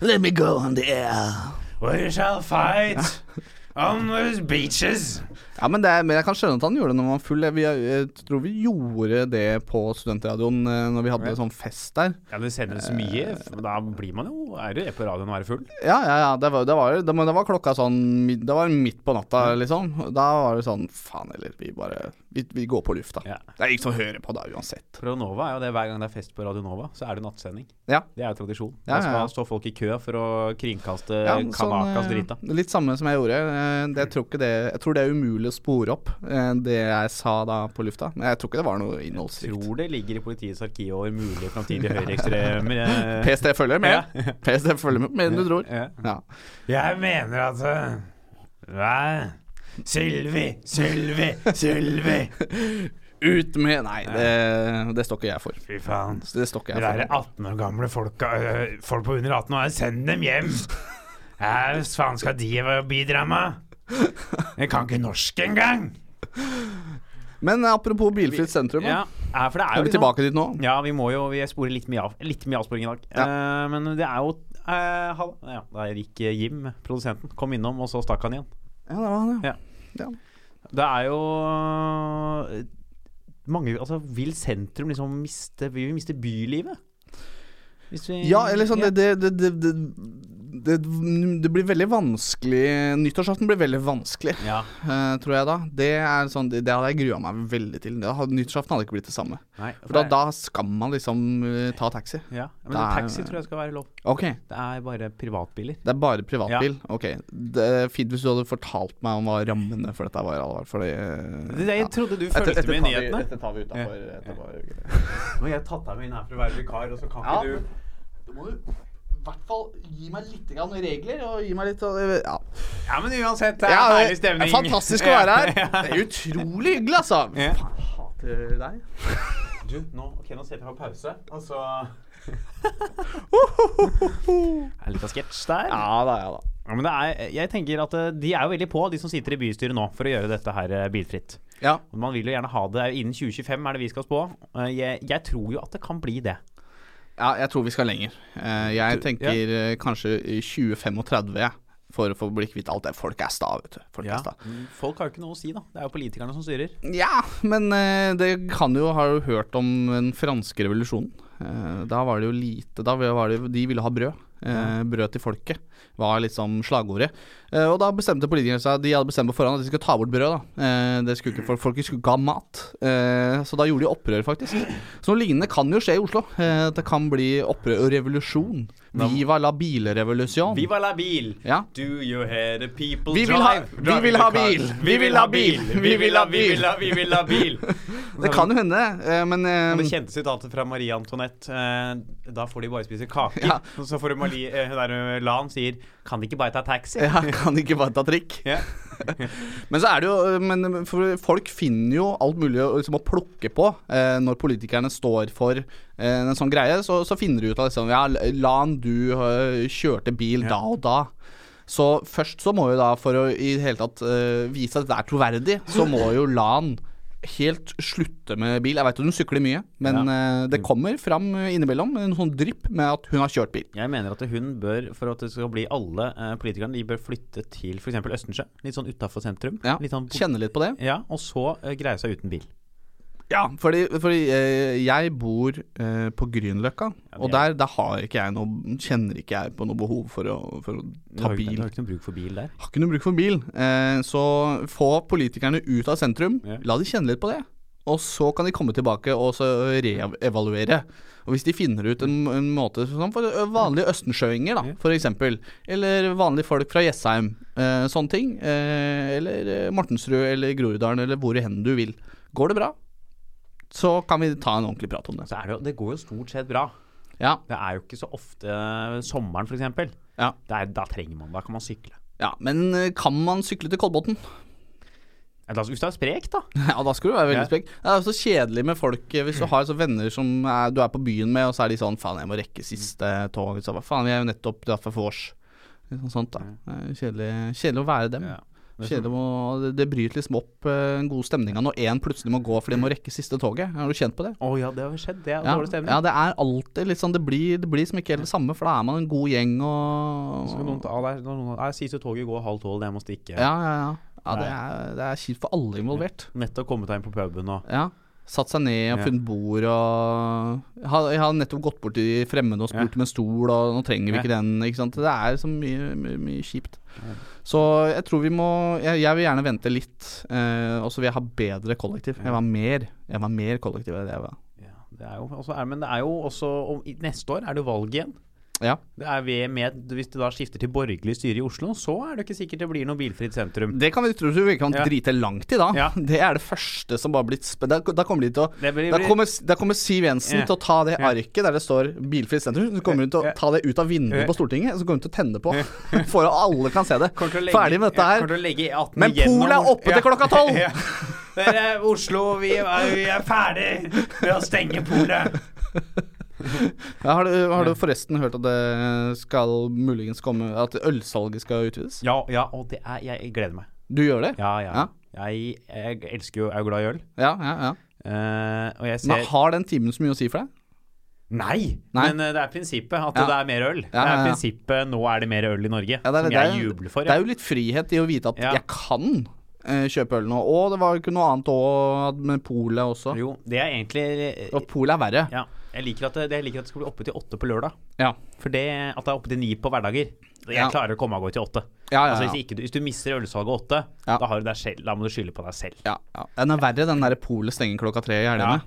Speaker 3: Let me go on the air.
Speaker 2: We shall fight on those beaches.
Speaker 3: Ja, men, det er, men jeg kan skjønne at han gjorde det når han var full. Jeg, jeg, jeg tror vi gjorde det på studentradioen eh, når vi hadde sånn fest der.
Speaker 2: Ja, det sender så mye. f- Da blir man jo Er du på radioen å være full?
Speaker 3: Ja, ja, ja. Det var, det var, det, men det var klokka sånn mid- Det var midt på natta, liksom. Da var det sånn Faen heller, vi bare Vi, vi går på lufta.
Speaker 2: Ja.
Speaker 3: Det er ingen som hører på da uansett.
Speaker 2: Pro Nova er jo det hver gang det er fest på Radio Nova, så er det nattsending.
Speaker 3: Ja.
Speaker 2: Det er jo tradisjon.
Speaker 3: Ja,
Speaker 2: Da
Speaker 3: ja, ja.
Speaker 2: skal stå folk i kø for å kringkaste
Speaker 3: Ja,
Speaker 2: Kanakas
Speaker 3: eh,
Speaker 2: drita.
Speaker 3: litt samme som jeg gjorde. Eh, Det, jeg, tror ikke det, jeg tror det er umulig å spore opp eh, det jeg sa da på lufta. Men jeg tror ikke det var noe innholdsrikt.
Speaker 2: Tror det ligger i politiets arkiv over mulige framtidige høyreekstreme eh,
Speaker 3: PST følger med. PST følger med mer enn du tror.
Speaker 2: Ja.
Speaker 3: Ja.
Speaker 2: Jeg mener at Nei. Sylvi, Sylvi, Sylvi.
Speaker 3: Ut med Nei, det, det står ikke jeg for.
Speaker 2: Fy faen.
Speaker 3: Det står ikke jeg for.
Speaker 2: 18 år gamle folka, folk på under 18 år, send dem hjem! Hva faen skal de bidra med? Jeg kan ikke norsk engang!
Speaker 3: Men apropos bilfritt sentrum.
Speaker 2: Ja,
Speaker 3: da.
Speaker 2: ja, for det er
Speaker 3: Er
Speaker 2: jo
Speaker 3: vi
Speaker 2: litt sånn-
Speaker 3: tilbake dit nå?
Speaker 2: Ja, vi må jo Vi sporer litt mye, av, litt mye avsporing i dag. Eh, men det er jo eh, hall- ja, Der gikk eh, Jim, produsenten, kom innom, og så stakk han igjen.
Speaker 3: Ja, det var han, ja.
Speaker 2: Ja. Det er jo eh, mange Altså, vil sentrum liksom miste Vil vi miste bylivet? Hvis vi-
Speaker 3: Ja, eller sånn
Speaker 2: Ja.
Speaker 3: det, det, det, det, det, det blir veldig vanskelig Nyttårsaften blir veldig vanskelig,
Speaker 2: Ja.
Speaker 3: eh, tror jeg da. Det er sånn, det, det hadde jeg grua meg veldig til. Det hadde, nyttårsaften hadde ikke blitt det samme.
Speaker 2: Nei,
Speaker 3: For da, da skal man liksom eh, ta taxi.
Speaker 2: ja. Men
Speaker 3: da er-
Speaker 2: taxi tror jeg skal være lov.
Speaker 3: Ok,
Speaker 2: Det er bare privatbiler.
Speaker 3: det er bare privatbil. Ok, det er Fint hvis du hadde fortalt meg om hva rammene for dette var. i alle fall, Fordi, eh,
Speaker 2: Det, jeg
Speaker 3: ja.
Speaker 2: trodde du
Speaker 3: Dette-
Speaker 2: fulgte
Speaker 3: dette
Speaker 2: med i
Speaker 3: tar vi-
Speaker 2: nyhetene.
Speaker 3: Dette tar vi
Speaker 2: Ja.
Speaker 3: utenfor. utenfor
Speaker 2: Nå har jeg tatt deg med inn her for å være vikar, og så kan
Speaker 3: Ja.
Speaker 2: ikke du
Speaker 3: Du må jo i hvert fall gi meg litt grann regler, og gi meg litt av- ja.
Speaker 2: Ja, men uansett, det er
Speaker 3: Ja,
Speaker 2: herlig stemning.
Speaker 3: Fantastisk å
Speaker 2: Ja.
Speaker 3: være her. Det er utrolig hyggelig, altså.
Speaker 2: Ja.
Speaker 3: Faen, jeg hater deg.
Speaker 2: Du, nå, ok, nå setter vi på pause, og så Er litt av sketsj der. Ja.
Speaker 3: Ja da, ja da.
Speaker 2: men det er, jeg tenker at eh, De er jo veldig på, de som sitter i bystyret nå, for å gjøre dette her eh, bilfritt.
Speaker 3: Ja.
Speaker 2: Og Man vil jo gjerne ha det innen 2025, er det vi skal spå. Eh, Jeg, jeg tror jo at det kan bli det.
Speaker 3: ja, jeg tror vi skal lenger. Eh, Jeg tenker eh, kanskje i 2035 jeg, for å få bli kvitt alt det. Folk er sta, vet du. Folk er sta.
Speaker 2: Mm, Folk har jo ikke noe å si, da. Det er jo politikerne som styrer.
Speaker 3: Ja, men eh, det kan jo ha hørt om den franske revolusjonen. Eh, Da var det jo lite Da var det, De ville ha brød. Eh, brød til folket var liksom slagordet. Eh, og da bestemte politikerne seg De hadde bestemt på forhånd at de skulle ta bort brød. da eh, det skulle ikke, folk, folk skulle ikke ha mat. Eh, så da gjorde de opprør, faktisk. Så noe lignende kan jo skje i Oslo. Eh, det kan bli opprør og revolusjon. Viva la bilrevolusjon.
Speaker 2: Viva la bil!
Speaker 3: Ja.
Speaker 2: Do you hear the people
Speaker 3: Vi vil ha-
Speaker 2: drive?
Speaker 3: vi
Speaker 2: driving
Speaker 3: vil
Speaker 2: the
Speaker 3: ha
Speaker 2: car?
Speaker 3: bil! Vi vil ha bil!
Speaker 2: Vi vil ha bil! Vi vil ha- Vi vil ha bil!
Speaker 3: Det kan jo hende, eh, men eh,
Speaker 2: Det kjente sitatet fra Marie Antoinette eh, Da får de bare spise kaker.
Speaker 3: Ja.
Speaker 2: Og Så får hun Marie, eh, hun der eh, Lan sier Kan de ikke bare ta taxi?
Speaker 3: ja, kan ikke bare ta trikk.
Speaker 2: Ja.
Speaker 3: Men så er det jo Men for folk finner jo alt mulig å, liksom, å plukke på eh, når politikerne står for eh, en sånn greie. Så, så finner de ut av liksom Ja, Lan, du eh, kjørte bil da og da. Så først så må jo da, for å i det hele tatt eh, vise at det er troverdig, så må jo Lan helt slutte med bil. Jeg veit hun sykler mye, men eh, det kommer fram innimellom en sånn drypp med at hun har kjørt bil.
Speaker 2: Jeg mener at hun bør, for at det skal bli alle eh, politikerne, de bør flytte til f.eks. Østensjø. Litt sånn utafor sentrum.
Speaker 3: Ja,
Speaker 2: Litt sånn,
Speaker 3: Kjenner litt på det.
Speaker 2: ja, og så eh, greie seg uten bil.
Speaker 3: Ja, fordi, fordi eh, jeg bor eh, på Grünerløkka,
Speaker 2: det
Speaker 3: og
Speaker 2: er-
Speaker 3: der, der har ikke jeg noe, kjenner ikke jeg på noe behov for å, for å
Speaker 2: Du
Speaker 3: ta
Speaker 2: har jo ikke,
Speaker 3: bil.
Speaker 2: du har ikke noe bruk for bil der.
Speaker 3: Har ikke noe bruk for bil. Eh, så få politikerne ut av sentrum,
Speaker 2: Ja.
Speaker 3: la de kjenne litt på det. Og så kan de komme tilbake og så reevaluere. Og hvis de finner ut en, en måte sånn for vanlige østensjøinger, da,
Speaker 2: Ja.
Speaker 3: f.eks. Eller vanlige folk fra Jessheim. Eh, sånne ting. Eh, eller eh, Mortensrud eller Groruddalen eller hvor hen du vil. Går det bra, så kan vi ta en ordentlig prat om det.
Speaker 2: Så er det, jo- det går jo stort sett bra.
Speaker 3: Ja,
Speaker 2: Det er jo ikke så ofte eh, sommeren, f.eks.
Speaker 3: Ja.
Speaker 2: Da trenger man Da kan man sykle.
Speaker 3: ja. Men eh, kan man sykle til Kolbotn?
Speaker 2: Ja, da- Hvis du er sprek, da.
Speaker 3: Ja, da skal du være veldig
Speaker 2: Ja. Mm.
Speaker 3: sprek. Det er jo så kjedelig med folk eh, hvis du har så venner som er, du er på byen med, og så er de sånn Faen, jeg må rekke siste
Speaker 2: Mm.
Speaker 3: tog. Så hva faen, vi er jo nettopp derfor for vårs. Litt sånn sånt, da. Det er Kjedelig, kjedelig å være dem.
Speaker 2: Mm. Ja.
Speaker 3: Kjedelig å, det, det bryter liksom opp eh, den gode stemninga når én plutselig må gå fordi de må rekke siste toget. Er du kjent på det?
Speaker 2: Å ja, det har skjedd. Det er
Speaker 3: Ja,
Speaker 2: dårlig stemning.
Speaker 3: ja, det er alltid litt sånn Det blir, det blir liksom ikke helt det samme, for da er man en god gjeng og
Speaker 2: Så skal noen ta, ah, der, noen, ah, Siste toget går halv tolv, jeg må stikke.
Speaker 3: Ja, ja, ja. ja det, er, det er kjipt for alle involvert.
Speaker 2: Nettopp kommet deg inn på puben og
Speaker 3: Ja. Satt seg ned og
Speaker 2: Ja.
Speaker 3: funnet bord og ha- Jeg har nettopp gått bort til de fremmede og spurt om en stol, og nå trenger vi ikke den. Ikke sant? Det er så mye, mye, mye kjipt. Så jeg tror vi må Jeg, jeg vil gjerne vente litt. Eh, og så vil jeg ha bedre kollektiv. Jeg var mer, jeg var mer kollektiv enn det jeg var.
Speaker 2: ja, det er jo, også, er, Men det er jo også om, i, Neste år er det valg igjen.
Speaker 3: Ja.
Speaker 2: Det er ved, med, hvis det da skifter til borgerlig styre i Oslo, så er det ikke sikkert det blir noe bilfritt sentrum.
Speaker 3: Det kan vi tro vi kan
Speaker 2: Mm. Ja.
Speaker 3: drite langt i, da.
Speaker 2: Ja.
Speaker 3: Det er det første som bare blitt sp- da, da kommer de til å
Speaker 2: Det blir,
Speaker 3: da kommer, da kommer Siv Jensen
Speaker 2: Ja.
Speaker 3: til å ta det
Speaker 2: Ja.
Speaker 3: arket der det står 'bilfritt sentrum'. Så kommer hun til
Speaker 2: Ja.
Speaker 3: å ta det ut av vinduet
Speaker 2: Ja.
Speaker 3: på Stortinget og så kommer hun til å tenne på. For at alle kan se det.
Speaker 2: kommer til å legge-
Speaker 3: Ferdig med dette
Speaker 2: ja,
Speaker 3: her.
Speaker 2: kommer til å legge 18
Speaker 3: Men
Speaker 2: gjennom-
Speaker 3: polet er oppe
Speaker 2: Ja.
Speaker 3: til klokka tolv!
Speaker 2: Ja. Dere, Oslo, vi er, vi er ferdig med å stenge polet.
Speaker 3: Ja, har, du- har du forresten hørt at det skal muligens komme At ølsalget skal utvides?
Speaker 2: Ja, ja, og det er Jeg gleder meg.
Speaker 3: Du gjør det?
Speaker 2: Ja, ja.
Speaker 3: Ja.
Speaker 2: Jeg, jeg elsker jo Jeg er glad i øl.
Speaker 3: Ja, ja, ja.
Speaker 2: Eh, og jeg ser
Speaker 3: Men har den timen så mye å si for deg?
Speaker 2: Nei,
Speaker 3: Nei.
Speaker 2: men eh, det er prinsippet at
Speaker 3: Ja.
Speaker 2: det er mer øl.
Speaker 3: Ja,
Speaker 2: Det
Speaker 3: ja,
Speaker 2: er
Speaker 3: ja.
Speaker 2: prinsippet 'nå er det mer øl i Norge',
Speaker 3: Ja, det er-
Speaker 2: som
Speaker 3: det er-
Speaker 2: jeg jubler for.
Speaker 3: Det
Speaker 2: Ja.
Speaker 3: er jo litt frihet i å vite at
Speaker 2: Ja.
Speaker 3: jeg kan eh, kjøpe øl nå. Og det var jo ikke noe annet òg, med polet også.
Speaker 2: Jo, det er egentlig eh,
Speaker 3: Og polet er verre.
Speaker 2: Ja. Jeg liker, at det, jeg liker at det skal bli oppe til åtte på lørdag.
Speaker 3: Ja.
Speaker 2: For det at det er oppe til ni på hverdager. Jeg
Speaker 3: Ja.
Speaker 2: klarer å komme meg og gå til åtte.
Speaker 3: Ja, ja,
Speaker 2: Altså,
Speaker 3: ja.
Speaker 2: hvis, ikke, du- hvis du mister ølsalget åtte,
Speaker 3: Ja.
Speaker 2: da, har du deg selv, da må du skylde på deg selv.
Speaker 3: Ja, ja. Den er verre, den derre polet stenger klokka tre i helgene.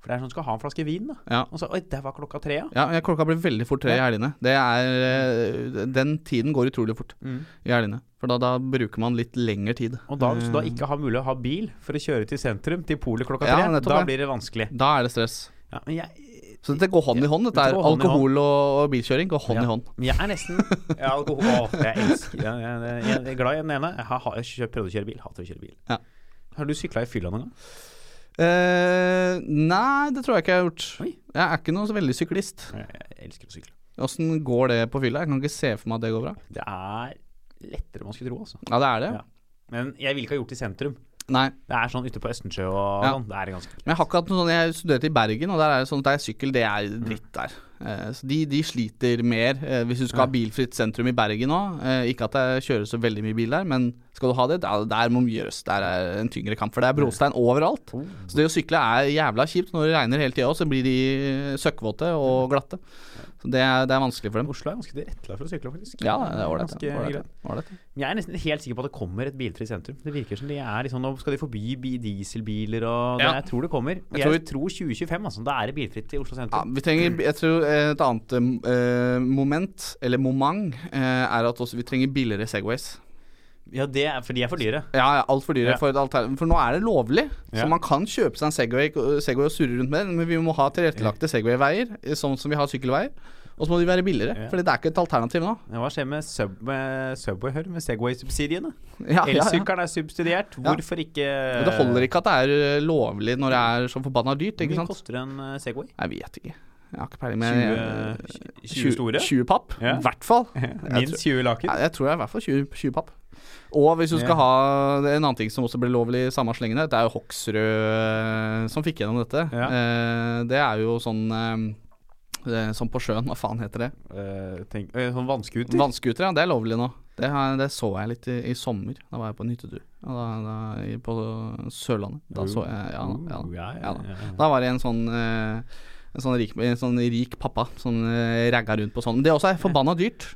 Speaker 2: For det er sånn du skal ha en flaske vin, da.
Speaker 3: Ja.
Speaker 2: Og så Oi, det var klokka tre, ja.
Speaker 3: Ja, ja, klokka blir veldig fort tre i helgene. Det er, eh, den tiden går utrolig fort
Speaker 2: Mm.
Speaker 3: i helgene. For da, da bruker man litt lengre tid.
Speaker 2: Og da, hvis du da ikke har mulig å ha bil for å kjøre til sentrum, til polet klokka
Speaker 3: Mm. Ja,
Speaker 2: tre,
Speaker 3: nettopp
Speaker 2: da
Speaker 3: det.
Speaker 2: blir det vanskelig.
Speaker 3: Da er det stress.
Speaker 2: Ja, men jeg
Speaker 3: Så dette går hånd i hånd. Dette
Speaker 2: Dette
Speaker 3: er
Speaker 2: går hånd i hånd.
Speaker 3: alkohol og, og bilkjøring går hånd
Speaker 2: Ja.
Speaker 3: i hånd.
Speaker 2: Men jeg er nesten jeg er alkohol... Åh, jeg elsker jeg, jeg, jeg er glad i den ene. Jeg har, jeg har prøvd å kjøre bil. Hater å kjøre bil.
Speaker 3: Ja.
Speaker 2: Har du sykla i fylla noen gang?
Speaker 3: Eh, nei, det tror jeg ikke jeg har gjort.
Speaker 2: Oi.
Speaker 3: Jeg er ikke noe så veldig syklist.
Speaker 2: Jeg, jeg elsker å sykle.
Speaker 3: Åssen går det på fylla? Jeg kan ikke se for meg at det går bra.
Speaker 2: Det er lettere enn man skulle tro, altså.
Speaker 3: Ja, det er det.
Speaker 2: Ja. Men jeg ville ikke ha gjort det i sentrum.
Speaker 3: Nei.
Speaker 2: Det er sånn ute på Østensjø og
Speaker 3: Ja.
Speaker 2: sånn. Det er ganske
Speaker 3: Men jeg har ikke hatt noe sånn Jeg studerte i Bergen, og der er det sånn at det er sykkel, det
Speaker 2: Mm.
Speaker 3: er dritt der. Eh, så de, de sliter mer. Eh, hvis du skal ha bilfritt sentrum i Bergen nå, eh, ikke at det kjøres så veldig mye bil der, men Skal du ha det? Der, der må mye røst. Der er en tyngre kamp, for det er brostein overalt. Så det å sykle er jævla kjipt. Når det regner hele tida, så blir de søkkvåte
Speaker 2: Mm.
Speaker 3: og glatte. Så det er, det er vanskelig for dem.
Speaker 2: Oslo er ganske tilrettelagt for å sykle, faktisk.
Speaker 3: Ja, det er ålreit.
Speaker 2: Ganske
Speaker 3: ja. Ålreit, ja.
Speaker 2: greit.
Speaker 3: Ålreit, ja.
Speaker 2: Men Jeg er nesten helt sikker på at det kommer et bilfritt sentrum. Det virker som de er liksom, Nå skal de forby bi- dieselbiler og det,
Speaker 3: Ja.
Speaker 2: Jeg tror det kommer. Jeg,
Speaker 3: tror-
Speaker 2: tror 2025, altså. Da er det bilfritt i Oslo
Speaker 3: Ja,
Speaker 2: sentrum.
Speaker 3: vi trenger, jeg tror et annet eh, moment, eller moment, eh, er at også vi trenger billigere Segways.
Speaker 2: Ja, det er, for de er for dyre.
Speaker 3: Ja, ja altfor dyre
Speaker 2: Ja.
Speaker 3: for et alternativ. For nå er det lovlig,
Speaker 2: Ja.
Speaker 3: så man kan kjøpe seg en Segway, øh, Segway og surre rundt med den, men vi må ha tilrettelagte Segway-veier, eh, sånn som vi har sykkelveier. Og så må de være billigere,
Speaker 2: Ja.
Speaker 3: for det er ikke et alternativ nå.
Speaker 2: Ja, Hva skjer med, sub, med Subway her, med Segway-subsidiene?
Speaker 3: Ja, ja, ja.
Speaker 2: Elsykkelen er subsidiert. Hvorfor ikke
Speaker 3: Men det holder ikke at det er eh, lovlig når det er så forbanna dyrt,
Speaker 2: Hvor
Speaker 3: ikke
Speaker 2: mye
Speaker 3: sant?
Speaker 2: koster en eh, Segway?
Speaker 3: Jeg vet ikke. Jeg har ikke peiling, men
Speaker 2: 20, 20 store?
Speaker 3: 20 papp, i
Speaker 2: Ja.
Speaker 3: hvert fall.
Speaker 2: Minst 20 laken?
Speaker 3: Ja, jeg tror det er i hvert fall 20, 20 papp. Og hvis du
Speaker 2: Ja.
Speaker 3: skal ha det er en annen ting som også ble lovlig i samme slengen, her, det er jo Hoksrud eh, som fikk gjennom dette.
Speaker 2: Ja.
Speaker 3: Eh, det er jo sånn eh, det er Sånn på sjøen, hva faen heter det?
Speaker 2: Eh, tenk, eh, sånn vannskuter?
Speaker 3: Vannskuter, ja. Det er lovlig nå. Det, har, det så jeg litt i, i sommer. Da var jeg på en hyttetur Og da, da, i- på Sørlandet. Da så jeg Ja da. Ja, da.
Speaker 2: Uh, ja,
Speaker 3: Ja
Speaker 2: ja,
Speaker 3: da.
Speaker 2: ja, ja.
Speaker 3: Da var det en sånn eh, en sånn, rik, en sånn rik pappa som eh, ragga rundt på sånn. Men det også er forbanna dyrt.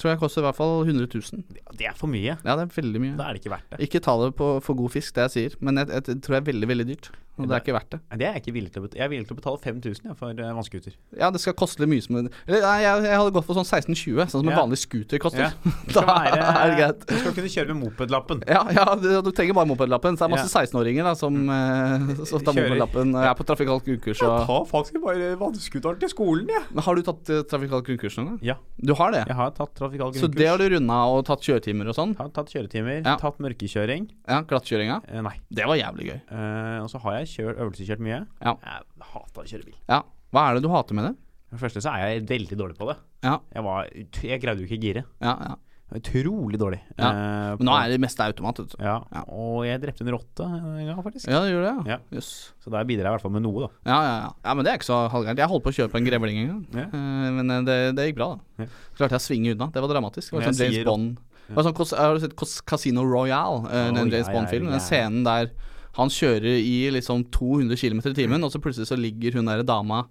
Speaker 3: Tror jeg koster i hvert fall 100 000.
Speaker 2: Det er for mye.
Speaker 3: Ja, det er veldig mye.
Speaker 2: Da er det ikke verdt det.
Speaker 3: Ikke ta det på, for god fisk, det jeg sier, men jeg, jeg tror det er veldig veldig dyrt. Og det er ikke verdt det.
Speaker 2: Nei, Det er Jeg ikke villig til å betale. Jeg er villig til å betale 5000 jeg, for eh, vannskuter.
Speaker 3: Ja, det skal koste mye som en Eller nei, jeg, jeg hadde gått for sånn 16-20, sånn som en
Speaker 2: Ja.
Speaker 3: vanlig scooter koster.
Speaker 2: Ja. Det
Speaker 3: Da
Speaker 2: skal være, eh,
Speaker 3: er det greit.
Speaker 2: Du skal kunne kjøre med mopedlappen.
Speaker 3: Ja, ja, du, du trenger bare mopedlappen. Så det er masse 16-åringer da som, eh, som tar
Speaker 2: Mm. Kjører.
Speaker 3: mopedlappen og er på trafikalt grunnkurs. Og,
Speaker 2: tar faktisk bare vannskuteren til skolen, jeg.
Speaker 3: men har du tatt eh, trafikalt grunnkurs noen gang?
Speaker 2: Ja.
Speaker 3: Du har det?
Speaker 2: Jeg har tatt trafikal
Speaker 3: Så det
Speaker 2: grunnkurs.
Speaker 3: har du runda og tatt kjøretimer og sånn?
Speaker 2: Har tatt kjøretimer,
Speaker 3: Ja.
Speaker 2: tatt mørkekjøring.
Speaker 3: Ja, Glattkjøringa?
Speaker 2: Eh, nei.
Speaker 3: Det var jævlig gøy.
Speaker 2: Eh, og så har jeg kjørt, øvelseskjørt mye.
Speaker 3: Ja.
Speaker 2: Jeg hater å kjøre bil.
Speaker 3: Ja. Hva er det du hater med det?
Speaker 2: For det første så er jeg veldig dårlig på det.
Speaker 3: Ja.
Speaker 2: Jeg, var, ut- jeg greide jo ikke å gire.
Speaker 3: Ja, ja.
Speaker 2: Jeg var Utrolig dårlig.
Speaker 3: Ja.
Speaker 2: eh,
Speaker 3: Men nå
Speaker 2: på-
Speaker 3: er det meste automat, vet du.
Speaker 2: ja.
Speaker 3: Ja.
Speaker 2: Og jeg drepte en rotte en gang, faktisk.
Speaker 3: Ja, det gjør det, ja.
Speaker 2: Ja.
Speaker 3: Jøss.
Speaker 2: Så der bidrar jeg i hvert fall med noe, da.
Speaker 3: Ja, ja, ja. ja, men det er ikke så halvgærent. Jeg holdt på å kjøre på en grevling en gang,
Speaker 2: Ja.
Speaker 3: Eh, men eh, det, det gikk bra, da.
Speaker 2: Ja.
Speaker 3: Klarte jeg å svinge unna. Det var dramatisk. Det var
Speaker 2: Men jeg
Speaker 3: sånn James
Speaker 2: sier-
Speaker 3: Bond det var sånn, Cos- Har du sett Cos- Casino Royale, eh,
Speaker 2: Å,
Speaker 3: den James
Speaker 2: ja, ja,
Speaker 3: Bond-filmen?
Speaker 2: ja.
Speaker 3: Den scenen der han kjører i liksom 200 km i timen, og så plutselig så ligger hun der dama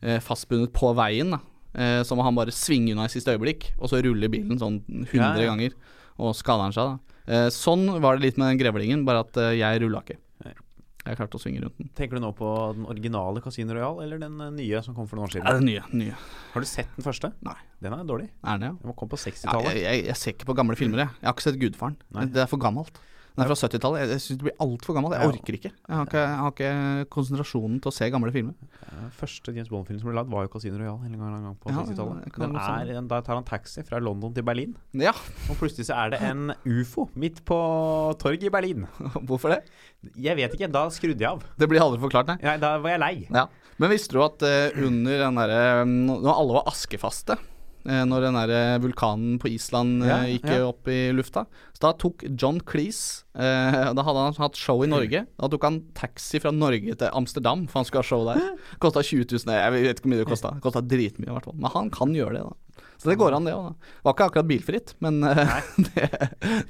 Speaker 3: eh, fastbundet på veien, da. Eh, så må han bare svinge unna i siste øyeblikk, og så ruller bilen sånn 100
Speaker 2: Ja, ja.
Speaker 3: ganger, og skader han seg, da. Eh, sånn var det litt med den grevlingen, bare at eh, jeg rulla ikke.
Speaker 2: Nei.
Speaker 3: Jeg klarte å svinge rundt den.
Speaker 2: Tenker du nå på den originale Casino Royal, eller den eh, nye som kom for noen år
Speaker 3: Ja,
Speaker 2: siden?
Speaker 3: det er nye. nye.
Speaker 2: Har du sett den første?
Speaker 3: Nei.
Speaker 2: Den er dårlig.
Speaker 3: Er den det, ja?
Speaker 2: Den kom på
Speaker 3: Ja,
Speaker 2: 60-tallet.
Speaker 3: jeg, jeg, jeg ser ikke på gamle filmer, jeg. Jeg har ikke sett Gudfaren.
Speaker 2: Mm. Nei.
Speaker 3: Det er for gammelt. Den er fra 70-tallet. Jeg, jeg syns det blir altfor gammelt. Jeg
Speaker 2: Ja.
Speaker 3: orker ikke. Jeg har ikke, jeg har ikke konsentrasjonen til å se gamle filmer.
Speaker 2: Eh, Første James Bond-film som ble lagd, var jo Casino Royal en gang, en gang på
Speaker 3: Ja,
Speaker 2: 60-tallet.
Speaker 3: jeg kan
Speaker 2: Den
Speaker 3: godt se
Speaker 2: er- Da tar han taxi fra London til Berlin,
Speaker 3: Ja,
Speaker 2: og plutselig så er det en ufo midt på torget i Berlin.
Speaker 3: hvorfor det?
Speaker 2: Jeg vet ikke, da skrudde jeg av.
Speaker 3: Det blir aldri forklart, nei.
Speaker 2: Nei, da var jeg lei.
Speaker 3: Ja. Men visste du at eh, under den derre mm, Når alle var askefaste eh, når den der vulkanen på Island eh,
Speaker 2: Ja,
Speaker 3: gikk
Speaker 2: ja.
Speaker 3: opp i lufta. Så Da tok John Cleese eh, Da hadde han hatt show i Norge. Da tok han taxi fra Norge til Amsterdam, for han skulle ha show der. Kosta 20 000. Jeg vet ikke hvor mye det kosta. Kosta dritmye, i hvert fall. Men han kan gjøre det, da. Så det går an, det òg. Var ikke akkurat bilfritt, men eh, det,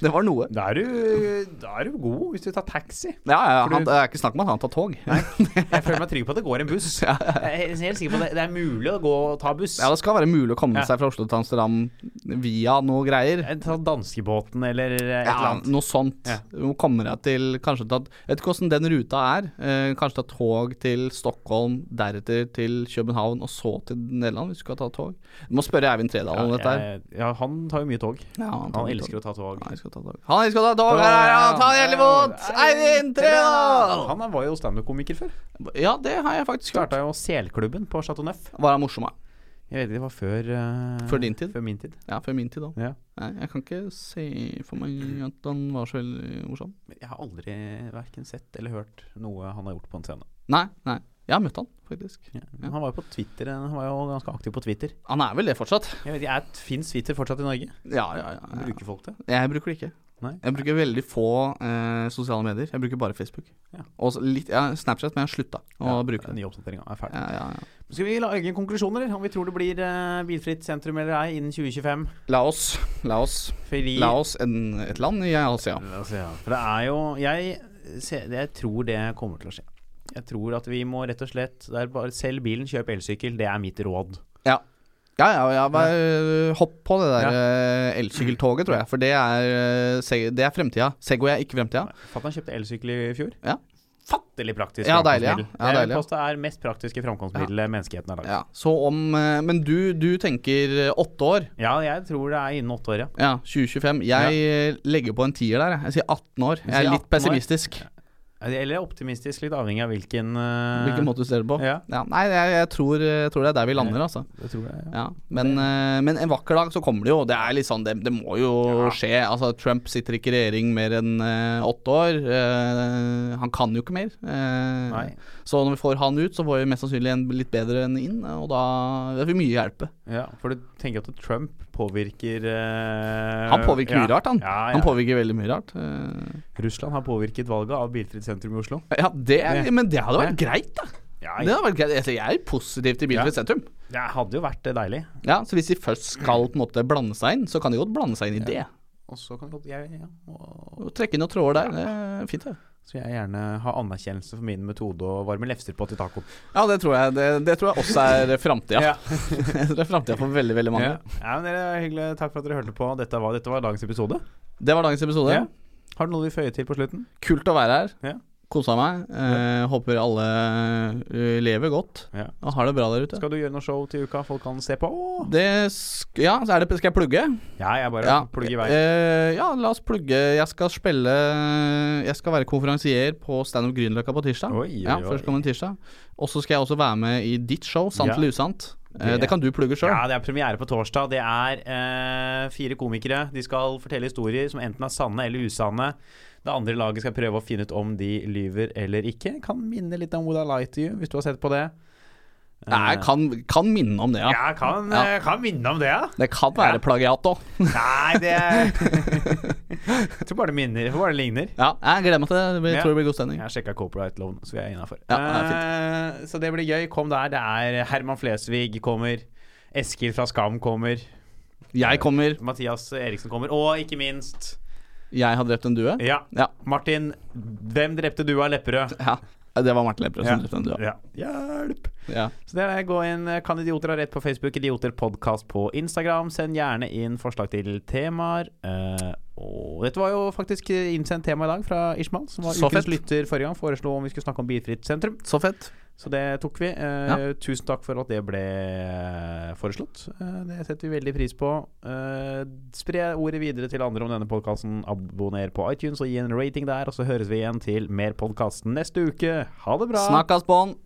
Speaker 3: det var noe.
Speaker 2: Da er, du, da er du god hvis du tar taxi.
Speaker 3: Ja, ja,
Speaker 2: For du-
Speaker 3: han, det er ikke snakk om at han tar tog.
Speaker 2: Jeg føler meg trygg på at det går en buss. Jeg er helt sikker på at det, det er mulig å gå og ta buss.
Speaker 3: Ja, det skal være mulig å komme
Speaker 2: Ja.
Speaker 3: seg fra Oslo til Amsterdam via noe greier.
Speaker 2: Eh, Ta danskebåten eller eh, et eller
Speaker 3: Ja,
Speaker 2: annet.
Speaker 3: noe sånt.
Speaker 2: Ja.
Speaker 3: Du kommer deg til kanskje ta, Jeg vet ikke hvordan den ruta er. Eh, kanskje ta tog til Stockholm, deretter til København, og så til Nederland hvis du skal ta tog. Du må spørre Eivind Tredal om dette her.
Speaker 2: jeg- Eh, ja, han tar jo mye tog.
Speaker 3: Ja,
Speaker 2: Han elsker å ta tog.
Speaker 3: Han elsker å ta tog. Han elsker å ta tog! Her er han! Ta det jævlig vondt! Eivind Tredal!
Speaker 2: Han var jo standup-komiker før.
Speaker 3: Ja, det har jeg faktisk klart.
Speaker 2: Starta jo Selklubben på Chateau Neuf.
Speaker 3: Var han morsom, da?
Speaker 2: Jeg vet ikke, det var før eh,
Speaker 3: Før din tid?
Speaker 2: Før min tid.
Speaker 3: Ja, før min tid, da.
Speaker 2: Ja.
Speaker 3: Nei, jeg kan ikke se for meg at han var så veldig morsom.
Speaker 2: Men Jeg har aldri verken sett eller hørt noe han har gjort på en scene.
Speaker 3: Nei, nei. Jeg har møtt han, faktisk.
Speaker 2: Ja. Men Han var jo på Twitter eh, Han var jo ganske aktiv på Twitter.
Speaker 3: Han er vel det fortsatt?
Speaker 2: Jeg vet ikke, Fins Twitter fortsatt i Norge?
Speaker 3: Ja, ja, ja. ja.
Speaker 2: Bruker folk det?
Speaker 3: Jeg bruker det ikke.
Speaker 2: Nei.
Speaker 3: Jeg bruker veldig få eh, sosiale medier. Jeg bruker bare Facebook.
Speaker 2: Ja.
Speaker 3: Og så litt, ja, Snapchat, men jeg har slutta å
Speaker 2: Ja,
Speaker 3: bruke det.
Speaker 2: Ny oppdatering er ferdig.
Speaker 3: Ja, ja, ja.
Speaker 2: Skal vi lage en konklusjon, eller? Om vi tror det blir eh, bilfritt sentrum eller ei innen 2025?
Speaker 3: Laos. Laos.
Speaker 2: Fordi
Speaker 3: Laos en, et land i Asia.
Speaker 2: La oss se, ja. For det er jo jeg, ser- jeg tror det kommer til å skje. Jeg tror at vi må rett og slett det er bare Selg bilen, kjøp elsykkel. Det er mitt råd.
Speaker 3: Ja. Ja, ja, ja bare øh, hopp på det der øh, elsykkeltoget, tror jeg. For det er, øh, seg- det er fremtida. Segway er ikke fremtida.
Speaker 2: Fatter'n kjøpte elsykkel i fjor.
Speaker 3: Ja.
Speaker 2: Fattelig praktisk.
Speaker 3: Ja, deilig, ja.
Speaker 2: framkomstmiddel.
Speaker 3: Ja,
Speaker 2: det
Speaker 3: deilig, ja.
Speaker 2: er, det er mest praktiske framkomstmiddelet menneskeheten har lagd.
Speaker 3: Ja. Så om øh, Men du, du tenker øh, åtte år.
Speaker 2: Ja. jeg tror det er innen åtte år, ja.
Speaker 3: Ja, 2025. Jeg øh, legger på en tier der. jeg. Jeg sier 18 år. Jeg
Speaker 2: sier
Speaker 3: er
Speaker 2: 18
Speaker 3: litt
Speaker 2: år.
Speaker 3: pessimistisk.
Speaker 2: Eller optimistisk, litt avhengig av hvilken eh,
Speaker 3: Hvilken måte du ser det på.
Speaker 2: Ja.
Speaker 3: Ja, nei, jeg, jeg, tror, jeg tror det er der vi lander, altså.
Speaker 2: Det tror jeg, ja.
Speaker 3: Ja, men, eh, men en vakker dag så kommer det jo. Det er litt sånn, det, det må jo skje. Altså, Trump sitter ikke i regjering mer enn eh, åtte år. Eh, han kan jo ikke mer. Eh,
Speaker 2: Nei.
Speaker 3: Så når vi får han ut, så får vi mest sannsynlig en litt bedre enn inn, og da det vil mye hjelpe.
Speaker 2: ja. For du tenker at Trump påvirker eh,
Speaker 3: Han påvirker
Speaker 2: ja.
Speaker 3: mye rart, han.
Speaker 2: Ja, ja.
Speaker 3: Han påvirker veldig mye rart. Eh,
Speaker 2: Russland har påvirket valget av bilfritt sentrum i Oslo.
Speaker 3: ja, det, er-
Speaker 2: Det-
Speaker 3: men det hadde vært greit, da.
Speaker 2: Ja,
Speaker 3: Det hadde vært greit. Altså, jeg er positiv til bilfritt
Speaker 2: Ja.
Speaker 3: sentrum.
Speaker 2: Det hadde jo vært eh, deilig.
Speaker 3: Ja, Så hvis de først skal på en måte blande seg inn, så kan de godt blande seg inn i det.
Speaker 2: Og så kan godt jeg, ja, og,
Speaker 3: Og trekke inn noen tråder der. Det er fint, det.
Speaker 2: så jeg gjerne ha anerkjennelse for min metode og varme lefser på til tacoen.
Speaker 3: Ja, det tror jeg, det, det tror jeg også er framtida.
Speaker 2: Ja.
Speaker 3: det er framtida for veldig veldig mange.
Speaker 2: Ja. men dere er hyggelig. Takk for at dere hørte på. Dette var, dette var dagens episode.
Speaker 3: Det var dagens episode.
Speaker 2: Ja. Har du noe du vil føye til på slutten?
Speaker 3: Kult å være her.
Speaker 2: Ja.
Speaker 3: Kosa meg. Eh, håper alle eh, lever godt
Speaker 2: Ja.
Speaker 3: og har det bra der ute.
Speaker 2: Skal du gjøre noe show til uka folk kan se på? Å!
Speaker 3: Det sk ja, så er det, skal jeg plugge?
Speaker 2: Ja, jeg bare
Speaker 3: Ja.
Speaker 2: plugger i vei.
Speaker 3: Eh, ja, la oss plugge. Jeg skal spille Jeg skal være konferansier på Standup Grünerløkka på tirsdag.
Speaker 2: Oi, oi,
Speaker 3: Ja,
Speaker 2: oi.
Speaker 3: Førstkommende tirsdag. Og så skal jeg også være med i ditt show, Sant
Speaker 2: Ja.
Speaker 3: eller usant. Eh,
Speaker 2: Det-
Speaker 3: det kan du plugge sjøl.
Speaker 2: Ja, det er premiere på torsdag. Det er eh, fire komikere. De skal fortelle historier som enten er sanne eller usanne. Det andre laget skal prøve å finne ut om de lyver eller ikke. Kan minne litt om Would I Lie to You, hvis du har sett på det.
Speaker 3: Nei,
Speaker 2: Eh,
Speaker 3: kan, kan minne om det, ja.
Speaker 2: Ja, kan,
Speaker 3: Ja.
Speaker 2: eh, kan minne om det, ja.
Speaker 3: Det kan
Speaker 2: Ja.
Speaker 3: være plagiat òg.
Speaker 2: Nei, det Jeg tror bare det minner. Jeg tror bare det ligner.
Speaker 3: Ja, jeg gleder meg til det. Jeg
Speaker 2: Ja.
Speaker 3: tror det blir god stemning.
Speaker 2: Jeg sjekka copyright-loven, så vi er innafor.
Speaker 3: Ja, det
Speaker 2: så det blir gøy. Kom der. Det er Herman Flesvig kommer. Eskil fra Skam kommer.
Speaker 3: Jeg kommer.
Speaker 2: Mathias Eriksen kommer. Og ikke minst
Speaker 3: Jeg har drept en due.
Speaker 2: Ja.
Speaker 3: Ja.
Speaker 2: Martin, hvem drepte du av Lepperød?
Speaker 3: ja. Det var Martin Lepperød som
Speaker 2: Ja.
Speaker 3: drepte en due.
Speaker 2: Ja. Hjelp!
Speaker 3: Ja.
Speaker 2: Så det er det. Gå inn. eh, Kan idioter ha rett på Facebook? Idioter podcast på Instagram. Send gjerne inn forslag til temaer. Eh, og dette var jo faktisk innsendt tema i dag fra Ishmael, som var
Speaker 3: Så
Speaker 2: ukens
Speaker 3: fett.
Speaker 2: lytter forrige gang. Foreslo om vi skulle snakke om bilfritt sentrum.
Speaker 3: Så fett.
Speaker 2: Så det tok vi. Eh, Tusen takk for at det ble eh, foreslått. Eh, det setter vi veldig pris på. Eh, spre ordet videre til andre om denne podkasten. Abonner på iTunes og gi en rating der, og så høres vi igjen til mer podkasten neste uke. Ha det bra!
Speaker 3: Snakkas bånn.